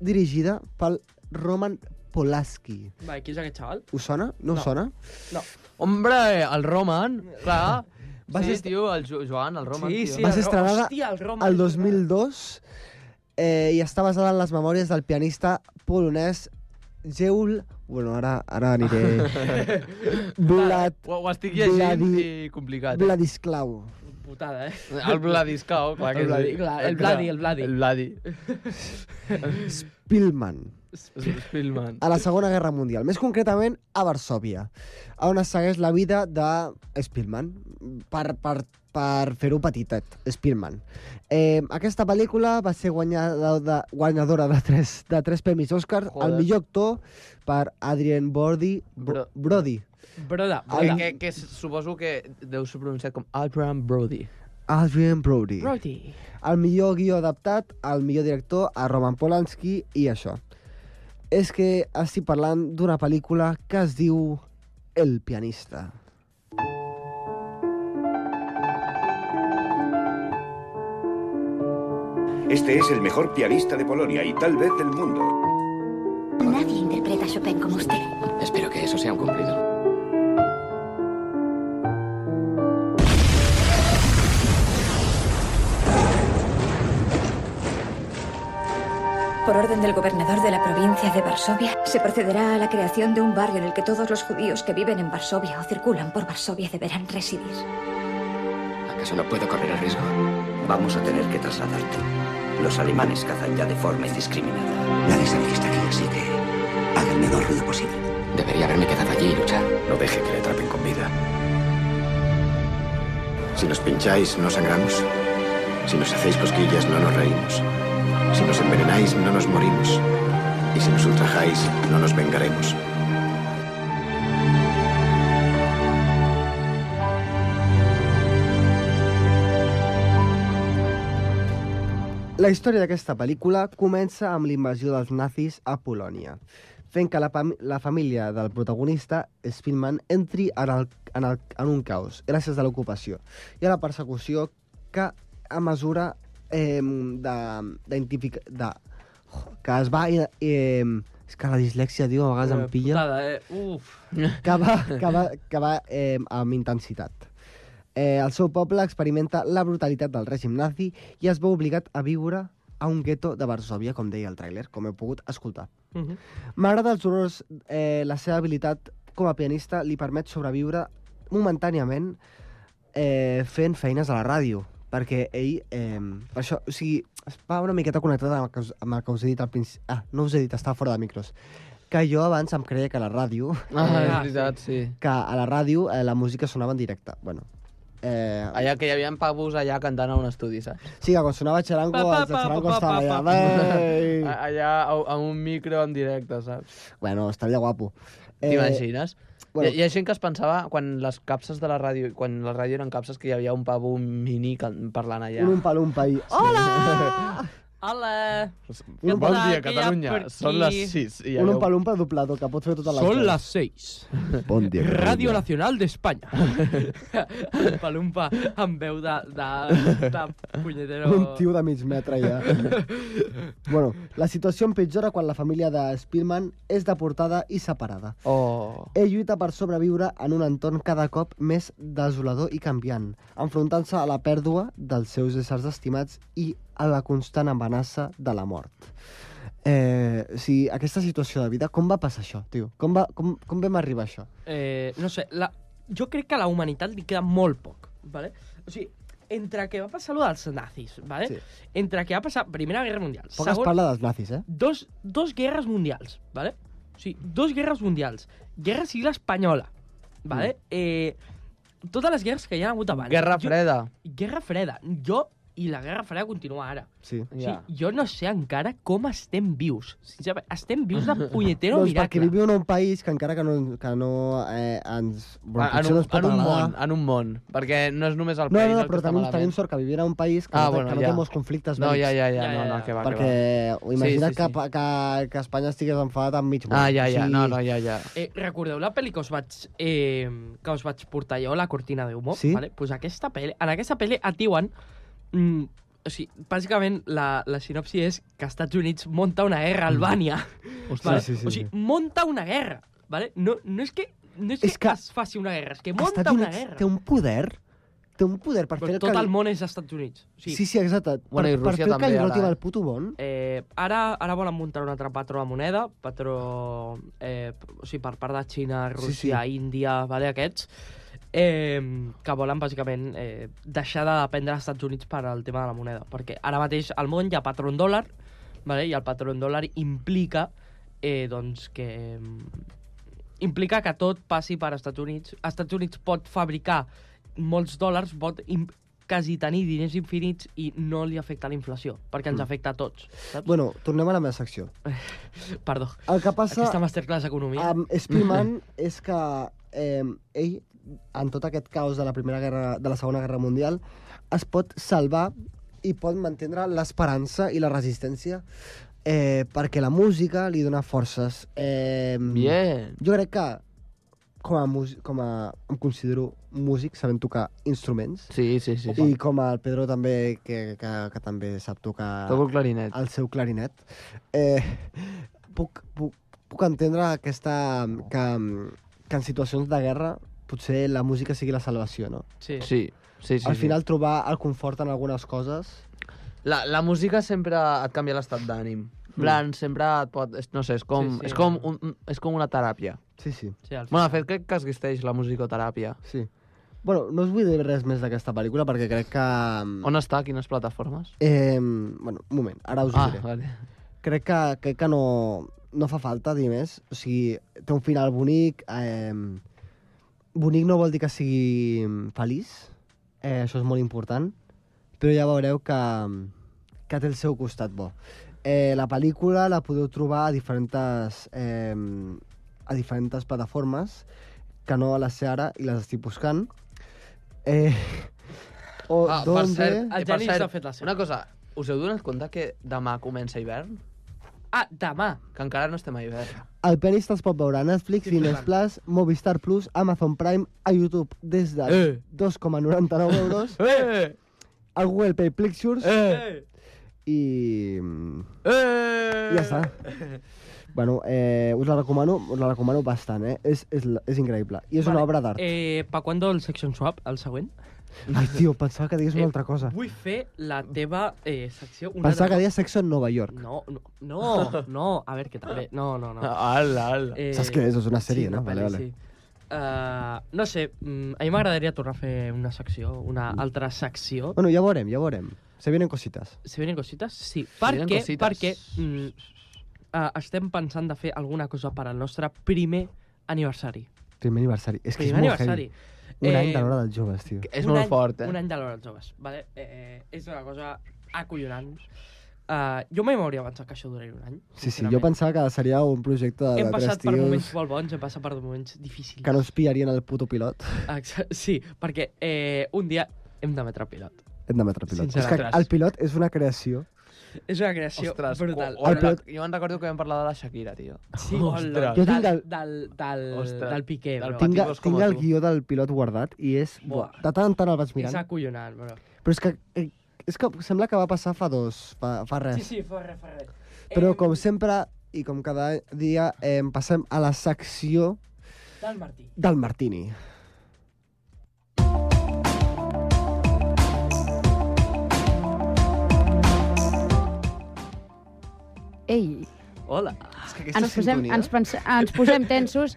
dirigida pel Roman Polanski.
Va, qui és aquest xaval?
Us sona? No,
No.
us sona?
Hombre, el Roman, clar.
Vas
sí,
est-
tio, el Jo- Joan, el Roman, tio.
Va
el
ser
Ro-
estrenada
Hòstia, el Roma.
El 2002 eh, i està basada en les memòries del pianista polonès Jeul... Bueno, ara, ara aniré... Vlad...
Ho, ho estic llegint
Vladi-
i complicat. eh?
Vladislau.
Putada, eh?
El Vladiscao, clar que
El Vladi-
sí.
clar, el Vladi, el Vladi.
El Vladi.
Spillman.
Spillman.
a la Segona Guerra Mundial, més concretament a Varsovia, on es segueix la vida de Spielman, per, per, per fer-ho petitet, Spielman. Eh, aquesta pel·lícula va ser guanyada de, guanyadora de tres, de tres premis Òscar,
Joder.
el millor actor per Adrien Brody,
Bro-
Bro, Brody,
Broda,
Que,
Ai.
broda.
que, que suposo que deu ser pronunciat com Adrian Brody.
Adrien Brody.
Brody.
El millor guió adaptat, el millor director, a Roman Polanski i això. És que estic parlant d'una pel·lícula que es diu El pianista.
Este es el mejor pianista de Polonia y tal vez del mundo.
Nadie interpreta a Chopin como usted.
Espero que eso sea un cumplido.
Por orden del gobernador de la provincia de Varsovia, se procederá a la creación de un barrio en el que todos los judíos que viven en Varsovia o circulan por Varsovia deberán residir.
¿Acaso no puedo correr el riesgo?
Vamos a tener que trasladarte. Los alemanes cazan ya de forma indiscriminada. Nadie sabría estar aquí, así que haga el menor ruido posible.
Debería haberme quedado allí y luchar.
No deje que le atrapen con vida. Si nos pincháis, no sangramos. Si nos hacéis cosquillas, no nos reímos. Si nos envenenáis, no nos morimos. Y si nos ultrajáis, no nos vengaremos.
La història d'aquesta pel·lícula comença amb l'invasió dels nazis a Polònia, fent que la, pam- la família del protagonista, Spielman, entri en, el, en, el, en un caos gràcies a l'ocupació i a la persecució que, a mesura eh, de, d'identifica- de, que es va... Eh, eh, és que la dislèxia, tio, a vegades em pilla
Putada, eh? Uf.
que va, que va, que va eh, amb intensitat. Eh, el seu poble experimenta la brutalitat del règim nazi i es veu obligat a viure a un gueto de Varsovia, com deia el tràiler, com heu pogut escoltar.
Mhm.
M'agrada els horrors, eh, la seva habilitat com a pianista li permet sobreviure momentàniament eh, fent feines a la ràdio, perquè ell, eh, per això, o sigui, es va una miqueta connectat amb el que us, amb el que us he dit al principi. Ah, no us he dit, estava fora de micros. Que jo abans em creia que la ràdio
Ah, és
Ah,
veritat, sí.
que a la ràdio eh, la música sonava en directe. Bueno, eh,
Allà que hi havia pavos allà cantant a un estudi, saps?
sí, que quan sonava Xarango,
Pa, pa,
els de
pa,
Xarango
pa, pa,
estaven
pa,
allà.
pa.
"Ei!"
A- Allà a, a un micro en directe, saps?
Bueno, estaria guapo. Eh,
T'imagines?
bueno.
Bueno. Hi, hi ha gent que es pensava, quan les capses de la ràdio, quan la ràdio eren capses, que hi havia un pavo mini can- parlant allà.
Un umpa-lumpa i... Hola!
Hola!
Bon dia,
Català, que hi ha
Catalunya.
per
Són
aquí.
les 6. I
un
allò-
umpa-lumpa doblador que pot fer totes les
Són
veus.
les 6.
Bon dia,
Ràdio Nacional d'Espanya. Palumpa amb veu de, de, de punyetero...
Un tio de mig metre ja. bueno, la situació empitjora quan la família de Spielman és deportada i separada.
Oh.
Ell lluita per sobreviure en un entorn cada cop més desolador i canviant, enfrontant-se a la pèrdua dels seus éssers estimats i a la constant amenaça de la mort. Eh, o sigui, aquesta situació de vida, com va passar això, tio? Com, va, com, com vam arribar a això?
Eh, no sé, la... jo crec que a la humanitat li queda molt poc, vale? O sigui, entre que va passar allò dels nazis, vale?
Sí.
Sí. Entre que va passar Primera Guerra Mundial,
Poc es parla dels nazis, eh?
dos, dos guerres mundials, ¿vale? O sigui, dos guerres mundials. Guerra civil espanyola, ¿vale? Eh, totes les guerres que hi ha hagut abans.
Mm. Guerra
Jo-
freda.
Guerra Freda. Jo i la Guerra Freda continua ara.
Sí.
O sigui, jo no sé encara com estem vius. Sincerament, estem vius de punyetero
doncs perquè
miracle.
vivim en un país que encara que no, que no eh, ens... Bueno,
Ah,
potser
en,
no
un,
ens pot
en un
agradar.
món, en un món. Perquè no és només el
No,
país
no, no,
el que
però
està
tenim,
malament.
tenim sort que vivim en un país que,
Ah,
no,
bueno,
que no
ja.
té molts conflictes
No,
bèl·lics.
ja, ja, ja,
Ja,
no,
ja,
no,
ja.
que va,
perquè
que va.
imagina't
Sí, sí,
que,
sí.
pa- que, que Espanya estigués enfadat amb mig món.
Ah, ja,
O
ja,
sigui,
no, no, ja, ja.
Eh, recordeu la pel·li que us vaig, eh, que us vaig portar jo, La cortina d'humor?
Sí.
Vale? Pues aquesta pel·li, en aquesta pel·li et diuen... Mm, o sigui, bàsicament, la, la sinopsi és que Estats Units monta una guerra a Albània.
Ostres, Mm. sí, sí,
o
sí.
sigui, monta una guerra. Vale? No, no és que, no és
És
que,
que
es faci una guerra, és que monta
Estats
una
Units
guerra.
té un poder, té un poder per fer
Però
el
tot
que...
el món és Estats Units. O sigui,
Sí, sí, exacte.
Bueno,
per,
i
per
Rússia
fer el
també
que
ara,
Ignoti
eh?
va el puto món.
Eh, ara, ara volen muntar un altre patró de moneda, patró eh, o sigui, per part de Xina, Rússia, sí, sí. Índia, vale, aquests, eh, que volen bàsicament eh, deixar de dependre dels Estats Units per al tema de la moneda. Perquè ara mateix al món hi ha patró en dòlar, vale, i el patró en dòlar implica eh, doncs que mm, implica que tot passi per Estats Units. Estats Units pot fabricar molts dòlars, pot im- quasi tenir diners infinits i no li afecta la inflació, perquè ens afecta a tots. Saps?
Mm. Bueno, tornem a la meva secció.
Perdó.
El que
Passa...
passa Ah,
Aquesta masterclass d'economia.
amb Spielman és que eh, ell, en tot aquest caos de la Primera Guerra, de la Segona Guerra Mundial, es pot salvar i pot mantenir l'esperança i la resistència eh, perquè la música li dona forces. Eh,
Bien.
Jo crec que com a, mus- com a em considero músic, sabem tocar instruments,
Sí, sí, sí. sí.
i com el Pedro també, que, que, que també sap tocar
Toco el clarinet.
el seu clarinet. Eh, puc, puc, puc entendre aquesta, que, que en situacions de guerra potser la música sigui la salvació, no?
Sí. sí.
Sí, sí, sí.
Al
sí.
final trobar el confort en algunes coses...
La, la música sempre et canvia l'estat d'ànim. En plan, sempre et pot... és- No sé, és com,
Mm. Sí, sí.
sí, sí. És com, un, un- és com una teràpia.
Sí, sí.
sí al final.
Bueno, de fet, crec que existeix la musicoteràpia.
sí. Bueno, no us vull dir res més d'aquesta pel·lícula perquè crec que...
On està? Quines plataformes?
Eh, bueno, un moment, ara us ho
Ah,
diré.
vale.
crec que, crec que no, no fa falta dir més. O sigui, té un final bonic. Eh, bonic no vol dir que sigui feliç. Eh, això és molt important. Però ja veureu que, que té el seu costat bo. Eh, la pel·lícula la podeu trobar a diferents, eh, a diferents plataformes que no a les sé ara i les estic buscant. Eh, o
Ah, per
donde...
Doncs
cert,
El
eh, per
Janis
cert,
ha fet la seva.
una cosa, us heu donat compte que demà comença hivern?
Ah, demà.
Que encara no estem a hivern.
El pianista es pot veure a Netflix, Cines Plus, Movistar Plus, Amazon Prime, a YouTube des de
Eh.
2,99 euros,
Eh!
al Google Play Pictures
Eh!
i... mm,
Eh!
i ja està. Bueno, eh, us la recomano, us la recomano bastant, eh? És, és, la- és increïble. I és una obra d'art.
Eh, pa quan el Section Swap, el següent?
Ai, tio, pensava que digués
Eh,
una altra cosa.
Vull fer la teva eh, secció... Una
Ah. Pensava que
altra
deies sexo en Nova York.
cosa. No, no, no, no, a veure, que també... No, no, no.
Ah,
Ala, ala.
Eh,
Saps què és? És una sèrie,
sí,
no?
una
Vale,
pel·li,
vale.
Sí. Uh, no sé, mm, a mi m'agradaria tornar a fer una secció, una altra secció.
Mm. Bueno, ja veurem, ja veurem. Se vienen cositas.
Se vienen cositas? Sí.
vienen
Perquè,
cositas.
perquè mm, uh, estem pensant de fer alguna cosa per al nostre primer aniversari.
Primer aniversari. És
Primer
que és molt
aniversari. Eh.
heavy. Un any de l'hora dels joves, tio.
És
un
molt
any,
fort, eh?
Un any de l'hora dels joves, vale? Eh, eh, és una cosa acollonant. Uh, jo mai m'hauria pensat que això duraria un any.
Sí, sí, jo
sincerament.
pensava que seria un projecte de,
Hem
de tres
passat per moments
tios
molt bons, hem passat per moments difícils. Ah,
que no es pillarien el puto pilot.
Exa- Sí, perquè eh, un dia hem d'emetre pilot.
Hem d'emetre pilot. És que
Sincerament.
el pilot és una creació.
És una creació
Ostres,
brutal.
O, o,
El pilot-
jo me'n recordo que vam parlar de la Shakira, tio.
Sí, hola,
Jo
del,
tinc
del,
el-
del, del,
Ostres.
del Piqué,
Del
bro.
Tinc,
tipus com
tinc el
tu.
guió del pilot guardat i és...
Buah.
Buah. De tant en tant el vaig
És
mirant.
acollonant, bro.
Però és que, eh, és que sembla que va passar fa dos, fa, fa
Sí,
res.
sí, eh, fa res, fa res.
Però
Em,
com sempre i com cada dia eh, passem a la secció
Del Martí.
del Martini.
Ei,
Hola.
És que aquesta
ens posem, ens, pense- ens posem tensos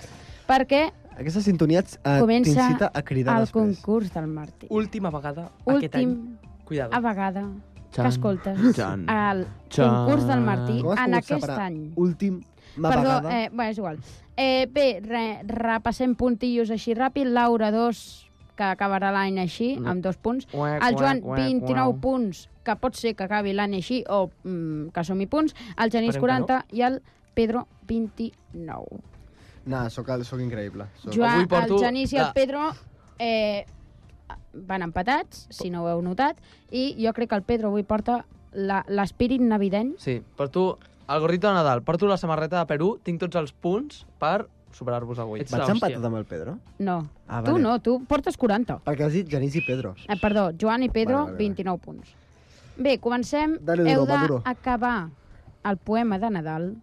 perquè
Aquesta sintonia ets- eh,
Comença
t'incita a cridar
el
després.
concurs del Martí.
Última vegada aquest
Últim
any. Cuidado.
a vegada que
Chan,
escoltes
chan,
el
chan.
concurs del Martí
Com has
en
pogut
aquest
separar
any.
Últim, ma
Perdó,
vegada.
eh, bueno, és igual. Eh, bé, re, repassem puntillos així ràpid. Laura 2, que acabarà l'any així,
Mm.
amb dos punts.
Uec,
El Joan,
uec, uec,
29
uec.
punts, que pot ser que acabi l'any així o mm, que sumi punts. El Genís,
Esperem que
40, i el Pedro, 29.
Nah, sóc, el- sóc increïble. Sóc...
Joan, el Genís i el Pedro eh, van empatats, si no ho heu notat, i jo crec que el Pedro avui porta la- l'espírit navident.
Sí, per tu, el gorrito de Nadal, per tu la samarreta de Perú, tinc tots els punts per superar-vos avui.
Vaig empatat amb el Pedro?
No,
Ah,
tu no, tu portes 40.
Perquè has dit Genís i Pedro.
Eh, perdó, Joan i
Vale,
Pedro,
vale, vale.
29 punts. Bé, comencem.
Dale duro,
heu
va duro.
d'acabar el poema de Nadal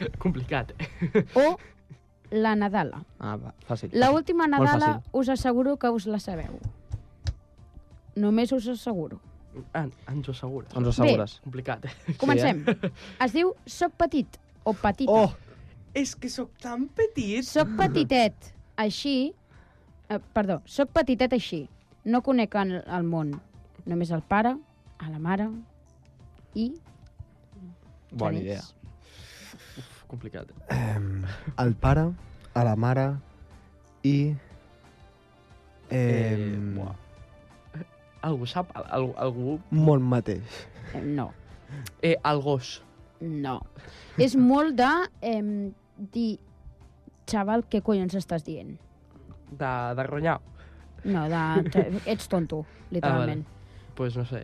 Eh,
Complicat.
o la Nadala.
Ah, va, fàcil.
La última
Molt
Nadala
fàcil.
us asseguro que us la sabeu. Només us asseguro.
En, ens ho assegures.
Ens Doncs ho assegures.
Bé. Complicat.
eh?
Comencem. Es diu Soc petit o petita.
Oh! És que sóc tan petit.
Soc petitet així... Eh, perdó, soc petitet així. No conec el, el món. Només el pare, a la mare i...
Bona
Genís.
idea.
Uf, complicat.
Ehm, el pare, a la mare i... Eh,
Algú sap? Al, al, algú?
Molt mateix.
Eh, No.
Eh, el gos.
No. És molt de eh, dir, xaval, què collons estàs dient?
De, de ronyar.
No, de... ets tonto,
Ah,
literalment.
pues no sé,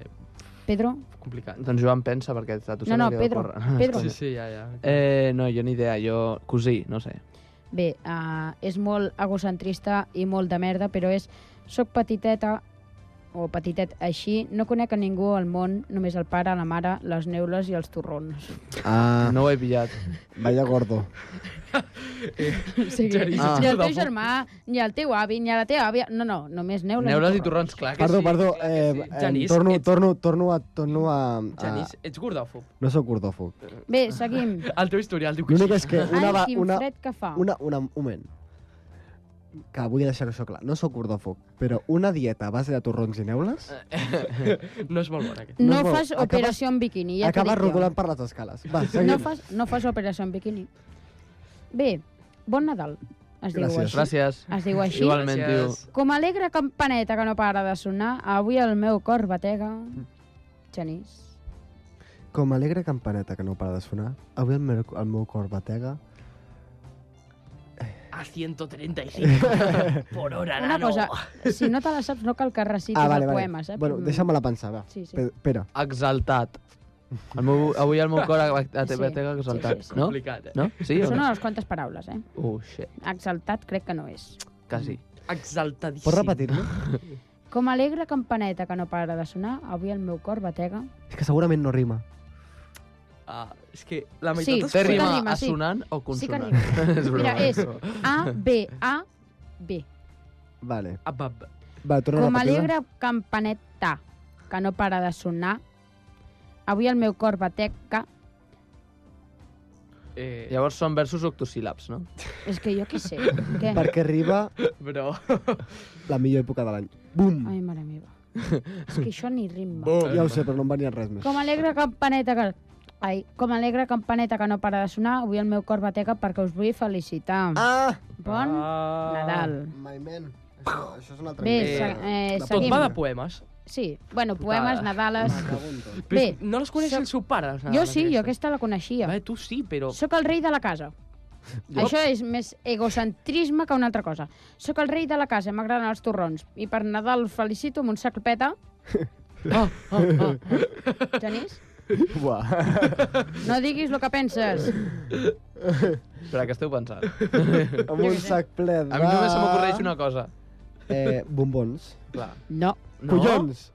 Pedro?
complicat.
Doncs Joan pensa, perquè a tu
No,
se
no,
li
Pedro,
ocorre.
Pedro.
Sí, sí, ja, ja.
Eh, no, jo ni idea, jo cosí, no sé.
Bé, uh, és molt egocentrista i molt de merda, però és... Soc petiteta, o petitet així, no conec a ningú al món, només el pare, la mare, les neules i els torrons.
Ah,
no ho he pillat.
Vaya gordo.
O sigui,
Ah.
ni el teu germà, ni el teu avi, ni la teva àvia... No, no, només neules,
Neules i
i torrons.
torrons, clar que
Perdó,
sí.
perdó. Eh, eh,
Genís,
torno,
ets-
torno, torno a... Torno a, a
Genís, ets gordòfob.
no sóc gordòfob.
Bé, seguim.
El teu historial diu que
L'únic és que una,
Ai,
va,
quin
una,
fred que fa.
una, una, un moment. Que vull deixar això clar. No sóc gordòfob, però una dieta a base de torrons i neules
No és molt bona, aquest.
No,
No és molt-
fas
acabes-
operació en biquini, ja t'ho
acaba
dic jo.
rodolant per les escales. Va, seguim.
No fas, no fas operació en biquini. Bé, bon Nadal, es diu
Gràcies.
així.
Gràcies.
Es diu així.
Igualment, tio.
Gràcies.
Com alegre campaneta que no para de sonar, avui el meu cor batega. Genís.
Com alegre campaneta que no para de sonar, avui el meu, el meu cor batega.
A 135 por hora,
Una
nano.
cosa, si no te la saps, no cal que recitis el poema,
Ah,
saps?
Bueno, deixa'm-la pensar, va.
eh, Sí, sí.
Pe- Espera.
Exaltat. El meu, avui el meu cor ha- ha- ha- ha exaltat,
sí, sí.
no?
Complicat, eh?
No? Sí o
Són
no?
unes quantes paraules, eh?
Oh, shit,
Exaltat crec que no és.
quasi.
Exaltadíssim.
Pots repetir-lo?
Com alegre campaneta que no para de sonar, avui el meu cor batega.
És que segurament no rima.
Ah, és que la
Sí,
meitat
Té
que
rima
rima, sí.
assonant o
Sí que
consonant?
rima.
és broma.
Mira, és A, B, A, B.
Vale.
Abab.
Va, torna
Com
a repetir-la.
alegre campaneta que no para de sonar, avui el meu cor bateca...
Eh,
Llavors són versos octosíl·labs, no?
És que jo què sé, què?
Perquè arriba
Però...
la millor època de l'any. Bum!
Ai, mare meva. És que això ni ritme.
Bum! Ja ho sé, però no em venia res més.
Com alegre campaneta que... Ai, com alegre campaneta que no para de sonar, avui el meu cor bateca perquè us vull felicitar.
Ah!
Bon
Ah.
Nadal.
My man. Això, això és un altre...
Bé,
nivell
se,
de-
eh,
de
Tot
seguim.
va de poemes.
Sí, bueno, poemes,
Putada.
Nadales...
Me cago en tot.
Però
Bé,
no les coneix
soc-
el seu pare, les
Jo
nadales
sí, jo aquesta la coneixia.
Va, tu sí, però...
Soc el rei de la casa. Això és més egocentrisme que una altra cosa. Soc el rei de la casa, m'agraden els torrons. I per Nadal felicito amb un sac peta. Oh,
Ah, ah, ah.
Genís,
Buah.
no diguis el que penses.
Espera, que esteu pensant?
Amb un sac ple de...
A mi només se m'ocorreix una cosa.
Eh, bombons.
Clar.
No,
No?
Collons!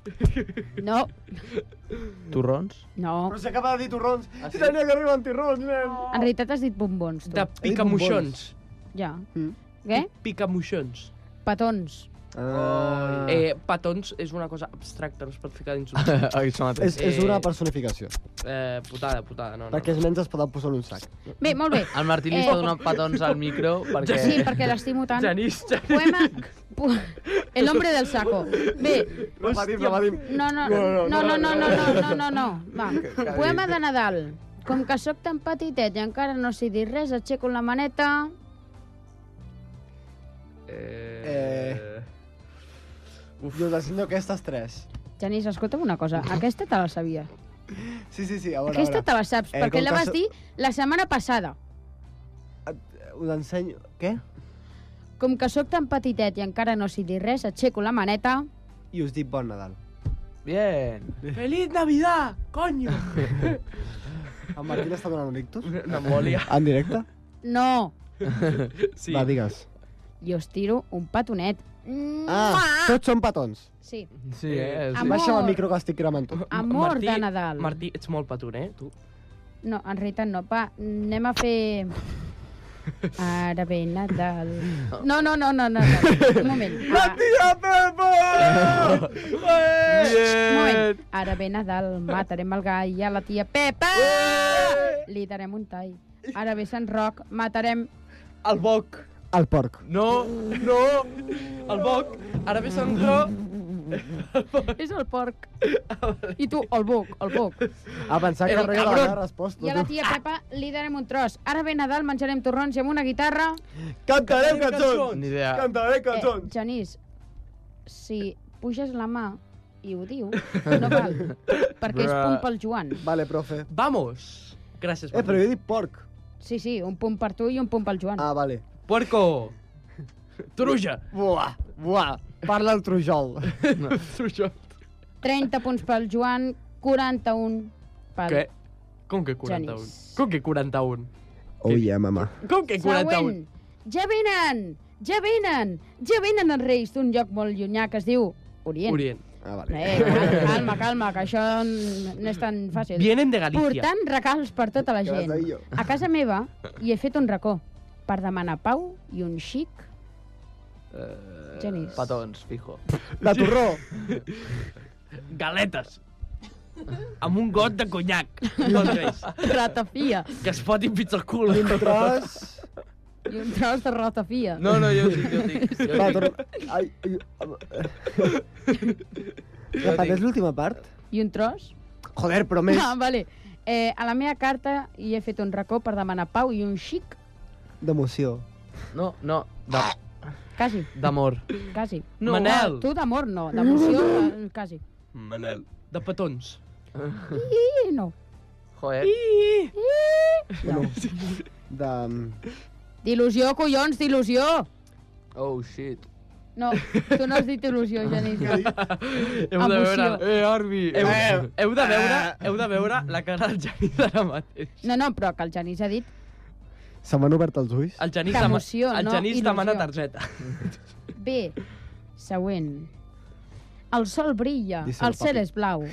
no,
Torrons?
no.
Però s'acaba de dir torrons. Ah, sí? Tenia que arribar amb torrons, nen!
En realitat has dit bombons, tu.
De picamuixons.
Ja.
Mm.
Què?
Picamuixons.
Petons.
Ah.
Eh, petons és una cosa abstracta, no es pot ficar dins un...
Ai, això
És,
mateix.
és
eh,
una personificació.
Eh, putada, putada, no, no.
Perquè els nens es poden posar en un sac.
Bé, molt bé.
El Martí li
Eh.
està donant petons al micro perquè...
Sí, perquè l'estimo tant.
Genís, Genís.
Poema... Pu... El hombre del saco. Bé,
Repetim, repetim.
No, no, no, no, no, no, no, no, no, no. Va. Poema de Nadal. Com que sóc tan petitet i encara no sé dir res, aixeco la maneta...
Eh...
Uf. Yo os enseño que estas tres.
Genís, escolta'm una cosa. Aquesta te la sabia.
Sí, sí, sí, a veure,
Aquesta
a veure.
te la saps,
Eh,
perquè
com
la
que
vas
so-
dir la setmana passada.
Us ensenyo... Què?
Com que sóc tan petitet i encara no sé dir res, aixeco la maneta...
I us dic bon Nadal.
Bien.
Feliz Navidad, coño!
En Martín està donant un ictus?
Una embòlia.
En directe?
No,
Sí.
Va, digues.
i us tiro un petonet.
Ah, tots són petons.
Sí.
Sí, eh?
sí.
Baixa'm
Amor.
el micro que estic cremant tu.
Amor de Nadal.
Martí, ets molt petun, eh, tu?
No, en realitat no. Pa, anem a fer... Ara ve Nadal. No, no, no, no, no. no. Un moment. La
tia Pepa!
eh!
Un moment. Ara ve Nadal, matarem el gall i a la tia Pepa! Li darem un tall. Ara ve Sant Roc, matarem...
El boc.
El porc.
No, no, el boc.
Ara ve Sant Roc.
És el porc. I tu, el boc, el boc.
A pensar que
Eh,
arregla la
cabron.
meva resposta.
I a la tia Pepa li darem un tros. Ara ve Nadal, menjarem torrons i amb una guitarra...
Cantarem
cançons. Ni idea.
Cantarem
Doncs,
Eh, Genís, si puges la mà i ho diu, no val, perquè és
Bruh.
punt pel Joan.
Vale, profe.
Vamos! Gràcies,
Eh, però jo he dit porc.
Sí, sí, un punt per tu i un punt pel Joan.
Ah, vale.
Puerco! Truja!
Buah, buah. Parla el trujol.
Truja.
30 punts pel Joan, 41 pel...
Què? Com que 41? Com que 41?
Oh yeah, mama.
Com que 41?
Següent. Ja venen, ja venen, ja venen els reis d'un lloc molt llunyà que es diu Orient.
Orient.
Ah, vale.
Eh, calma, calma, calma, que això n- no és tan fàcil.
Vienen de Galícia.
Portant regals per tota la
Què vas
gent.
dir jo?
A casa meva hi he fet un racó per demanar pau i un xic...
Eh,
Genís.
Petons, fijo.
De torró.
Galetes. Amb un got de conyac. Doncs reis.
Ratafia.
Que es fotin fins al cul.
I un tros...
I un tros de ratafia.
No, no, jo ho dic, jo ho dic. Jo
Va,
ho dic.
torna... Ai, ai... Repeteix l'última part?
I un tros?
Joder, però més...
Ah, vale. Eh, a la meva carta hi he fet un racó per demanar pau i un xic,
D'emoció.
No, no, de-
quasi,
d'amor.
quasi.
No. Manel.
Ah, Tu d'amor no, d'emoció eh, quasi.
Manel. De petons.
I no.
Joder.
No. De...
D'il·lusió, collons, d'il·lusió!
Oh, shit.
No, tu no has dit il·lusió, Genís.
Heu de veure...
Emoció.
Eh, Arbi!
Ah, Heu, heu, de veure, heu de veure la cara del Genís ara mateix.
No, no, però que el Genís ha dit
Se m'han obert els ulls.
El Genís,
Que
dema-
emoció,
el
no?
Genís
Il·lusió.
demana targeta.
bé. Següent. El sol brilla,
Dice el
el cel
papi.
és blau.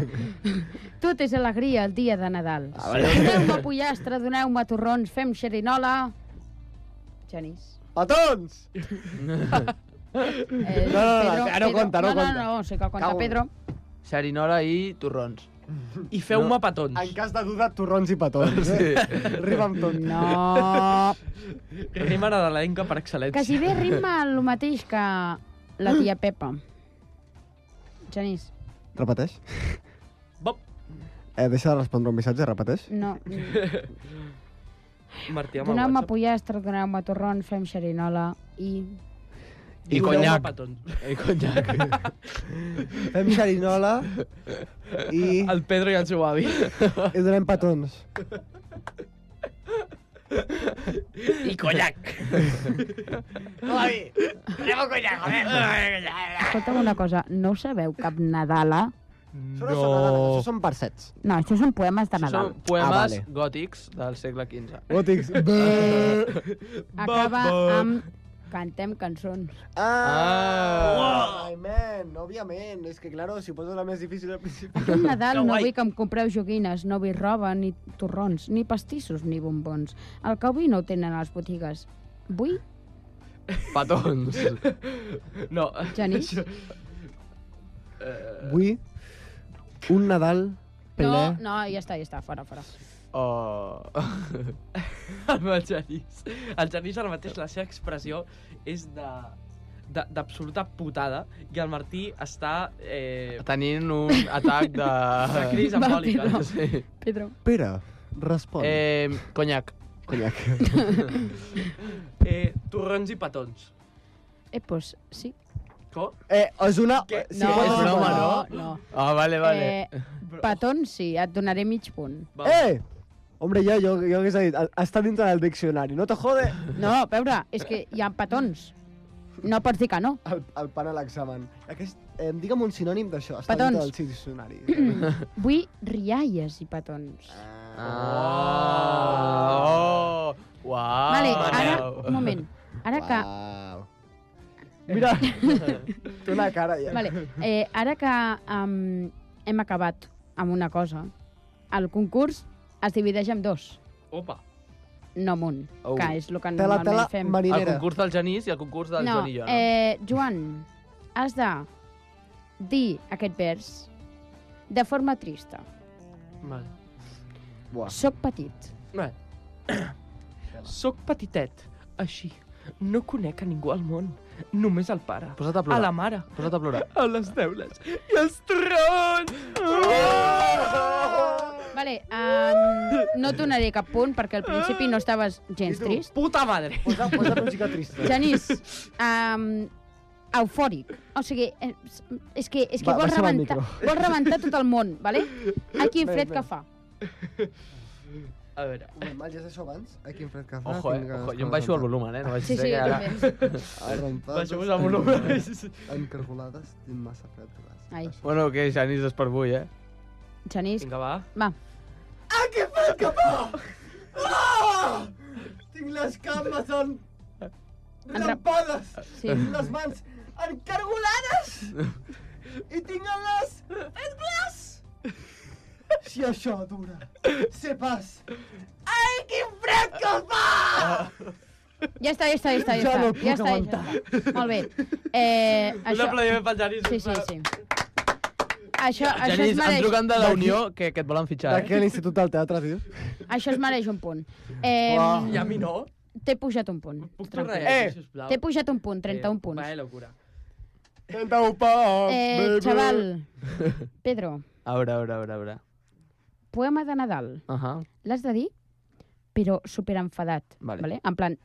Tot és alegria el dia de Nadal.
Ah, vale.
Doneu-me pollastre, doneu-me torrons, fem xerinola... Genís.
Petons!
Eh,
No, no, no, que no compta, no
no,
compta.
No, no, sí que compta,
Cago en-
Pedro.
Xerinola i torrons.
Ah,
I feu-me petons.
En cas de duda, torrons i petons. Eh? Rima amb tot.
No.
Rima nadalenca per excel·lència.
Quasi bé rima el mateix que la tia Pepa. Genís,
Repeteix.
Bop.
Eh, deixa de respondre un missatge, repeteix.
no.
Martí, amb el
Doneu-me
WhatsApp.
pollastre, doneu-me torrons, fem xerinola i...
I conyac. I conyac.
Fem xerinola i,
El Pedro i el seu avi.
i donem petons.
I conyac.
Escolta'm una cosa, no ho sabeu cap Nadala?
Això no, són nadales, això són versets.
No, això són poemes de Nadal.
Són poemes
Ah, vale.
gòtics del segle XV.
Gòtics.
Acaba amb cantem cançons.
Ah! Ai, man, òbviament. És que, claro, si ho poses la més difícil al principi...
Aquest
Que
Nadal no
guai.
vull que em compreu joguines, no vull roba, ni torrons, ni pastissos, ni bombons. El que avui no ho tenen a les botigues. Vull
Petons.
No.
Genís?
Vull un Nadal
No,
ple...
no, ja està, ja està, fora, fora.
Oh.
Amb el Genís. El Genís ara mateix la seva expressió és de de- d'absoluta putada i el Martí està... Eh,
Tenint un atac de...
de cris
Va,
embòlica.
Pedro.
Sí.
Pedro.
Pere, respon.
Eh, conyac.
conyac.
Eh, torrons i petons.
Eh, pues sí.
Com?
Eh, és una...
Què?
Sí,
No,
pot-
és broma, no? No.
Ah, vale, vale.
Eh, petons, sí, et donaré mig punt.
Eh! Hombre, jo, jo, jo hagués dit, està dintre del diccionari, no te jode.
No, a veure, és que hi ha petons. No pots dir que no.
El, el pan a l'examen. Aquest, eh, digue'm un sinònim d'això, està
Petons.
dintre del diccionari.
Vull rialles i petons.
Ah. Oh. Uau.
Vale, ara, un moment. Ara que,
Mira, té una cara ja.
vale, eh, ara que um, hem acabat amb una cosa, el concurs es divideix en dos,
Opa.
no en un,
Oh.
oh. que és el que
Tela,
normalment
tela,
fem.
El
marinera.
concurs del Genís i el concurs del
no,
Joan i jo, no?
eh, Joan, has de dir aquest vers de forma trista.
Vale.
Buah.
Soc petit.
Vale. Soc petitet, així. No conec a ningú al món, només al pare,
Posa't a
a
plorar.
la mare,
Posa't a plorar.
a les teules i als torrons! Oh!
Vale, um, no et donaré cap punt perquè al principi no estaves gens trist.
Puta madre!
Posa, posa música trista.
Genís, um, eufòric. O sigui, és, és que, és que
Va,
vols,
baixa'm el
rebentar,
micro.
vols rebentar tot el món, vale? Ai, quin
Bé,
fred
bé.
que fa.
A veure.
Normal, ja és això abans? Ai, quin fred que fa.
Ojo, eh?
tinc ganes
Ojo,
que
jo em baixo el
rentar.
volum, eh? No vaig
Sí,
dir
sí,
que
jo
ara...
també.
Arrampades,
Baixeu-vos el volum.
Encargolades, tinc massa fred.
Ai.
Bueno, que Genís és per avui, eh?
Genís,
Vinga, va.
va.
Tinc les cames en...
Entra-
Rampades!
Sí.
Tinc les mans encargolades! I tinc les... En glaç! Si això dura, sé pas... Ai, quin fred que fa!
Ja està, ja està, ja està.
Ja
Ja, està,
no puc
ja, està, ja està. Molt bé. Eh,
Un
això...
aplaudiment pel Genís.
Sí, sí, sí. Això, això es
Genís, em
mereix,
truquen de la Unió que, que et volen fitxar, eh?
l'institut del teatre, tio?
això es mereix un punt. Eh,
Uah.
I a mi no.
T'he pujat un punt.
Puc tornar
Tranquil.
a
Eh!
dir, sisplau? Eh,
T'he pujat un punt, 31 punts.
Vaya locura.
Tenta un poc,
Eh, xaval, Pedro,
A veure, a veure, a veure, a veure.
poema de Nadal.
Uh -huh.
l'has de dir, però superenfadat.
Vale.
Vale. En plan,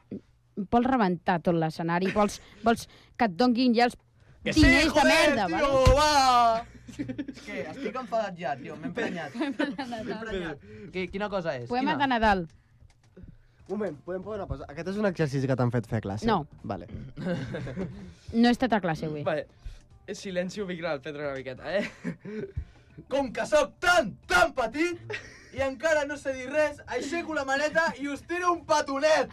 vols rebentar tot l'escenari, vols, vols que et donguin ja els diners de merda. vale?
va! És que estic enfadat ja, tio, m'he emprenyat. M'he emprenyat. Qui- Quina cosa és?
Poema
Quina?
de Nadal.
Un moment, podem posar una pausa? Aquest és un exercici que t'han fet fer a classe?
No.
Vale.
No he estat a classe avui.
Vale. Eh, Silenci ubicarà el Pedro una miqueta, eh?
Com que sóc tan, tan petit i encara no sé dir res, aixeco la maneta i us tiro un petonet.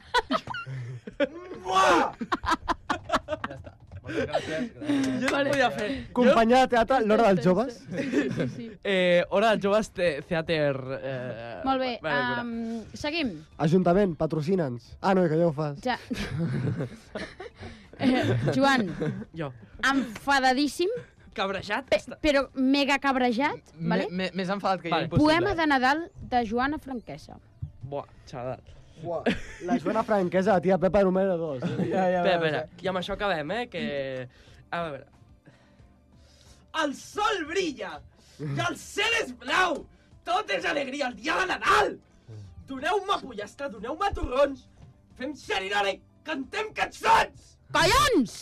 Buah! Ja està. Moltes gràcies. gràcies.
Jo no podia fer.
Companyia de teatre, l'hora dels joves.
Sí, sí.
Eh, hora dels joves te, teater... Eh,
Molt bé,
vaya locura.
um, seguim.
Ajuntament, patrocina'ns. Ah, no, que ja ho fas.
Ja. Eh, Joan,
Jo.
enfadadíssim,
Cabrejat?
pe
Està...
però mega cabrejat, vale?
Vale? Més enfadat que
Vale.
jo, impossible.
Poema
eh?
de Nadal de Joana Franquesa.
Buah, xaval.
Uah, la Joana Franquesa, la tia Pepa número 2.
Ja, ja,
Espera,
veus,
espera, i amb això acabem, eh, que... A veure... El sol brilla! I el cel és blau! Tot és alegria, el dia de Nadal! Doneu-me pollastre, doneu-me torrons! Fem xerinara i cantem cançons!
Collons!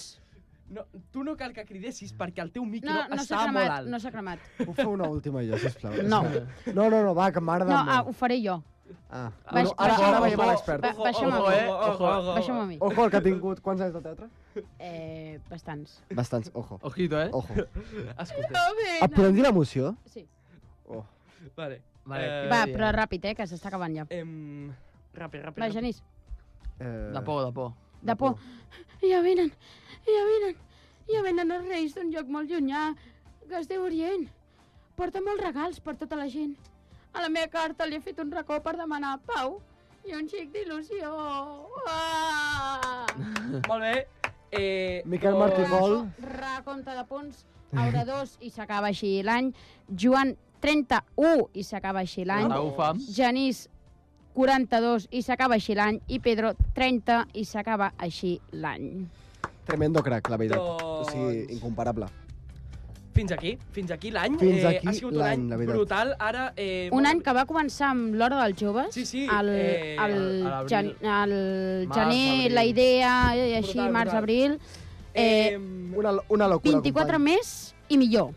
No, tu no cal que cridessis perquè el teu micro
No, no s'ha
està molt
cremat,
alt.
no s'ha cremat.
Puc fer una última jo, sisplau?
No.
No, no, no, va, que m'agrada
No, ah,
molt.
ho faré jo.
Ah,
baix-
no, ara,
baixem-
ara veiem a
ojo,
l'expert.
ba- baixa'm
ojo,
a mi.
eh? Ojo, ojo.
Baixa'm a mi.
Ojo, el que ha tingut... Quants anys de teatre?
Eh, bastants.
Bastants, ojo.
Ojito, eh?
Ojo.
Escolta,
Ah, podem dir l'emoció?
Sí.
Oh.
vale.
Vale.
Eh,
Va, però ràpid, eh, que s'està acabant ja.
Em... Ràpid, ràpid.
Va, Genís,
Eh...
De por, de por.
de por. Ja venen, ja venen, ja venen els reis d'un lloc molt llunyà, que es diu Orient. Porta molts regals per tota la gent. A la meva carta li he fet un racó per demanar pau i un xic d'il·lusió. Ah!
Molt bé. Eh,
Miquel
doncs-
Martigol.
Recompte de punts, Aura 2 i s'acaba així l'any. Joan, 31 i s'acaba així l'any.
Au, fam.
Genís, 42 i s'acaba així l'any, i Pedro, 30 i s'acaba així l'any.
Tremendo crac, la veritat.
Doncs-
O sigui, incomparable.
Fins aquí, fins aquí l'any.
Fins
Eh,
aquí
ha sigut un
l'any,
any
la veritat.
brutal. Ara, eh,
Un any que va començar amb l'Hora dels Joves.
Sí, sí,
El,
eh,
el,
a l'abril.
gen, el
Març,
gener,
abril.
la idea, i així,
Brutal, brutal.
març-abril. Eh,
una, una locura,
24
company.
més i millor.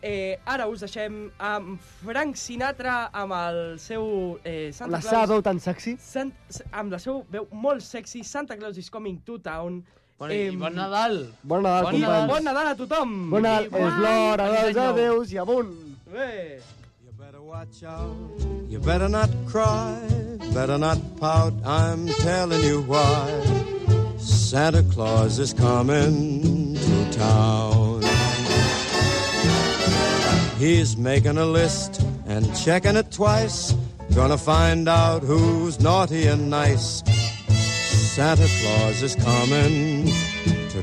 Eh, ara us deixem amb Frank Sinatra amb el seu eh, Santa
La
Claus.
seva veu tan sexy.
Sant, amb la seva veu molt sexy, Santa Claus is coming to town.
Bueno, i bon Nadal.
Bon Nadal,
Bon Nadal,
companys.
bon Nadal a tothom!
Bon Nadal,
I
és l'hora dels
Any nou.
adeus i amunt.
Bé.
You better not cry, better not pout, I'm telling you why. Santa Claus is coming to town. He's making a list and checking it twice. Gonna find out who's naughty and nice. Santa Claus is coming to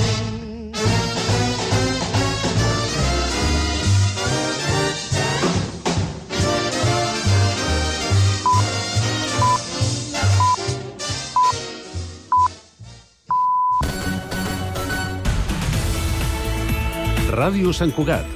Ràdio Sant Cugat,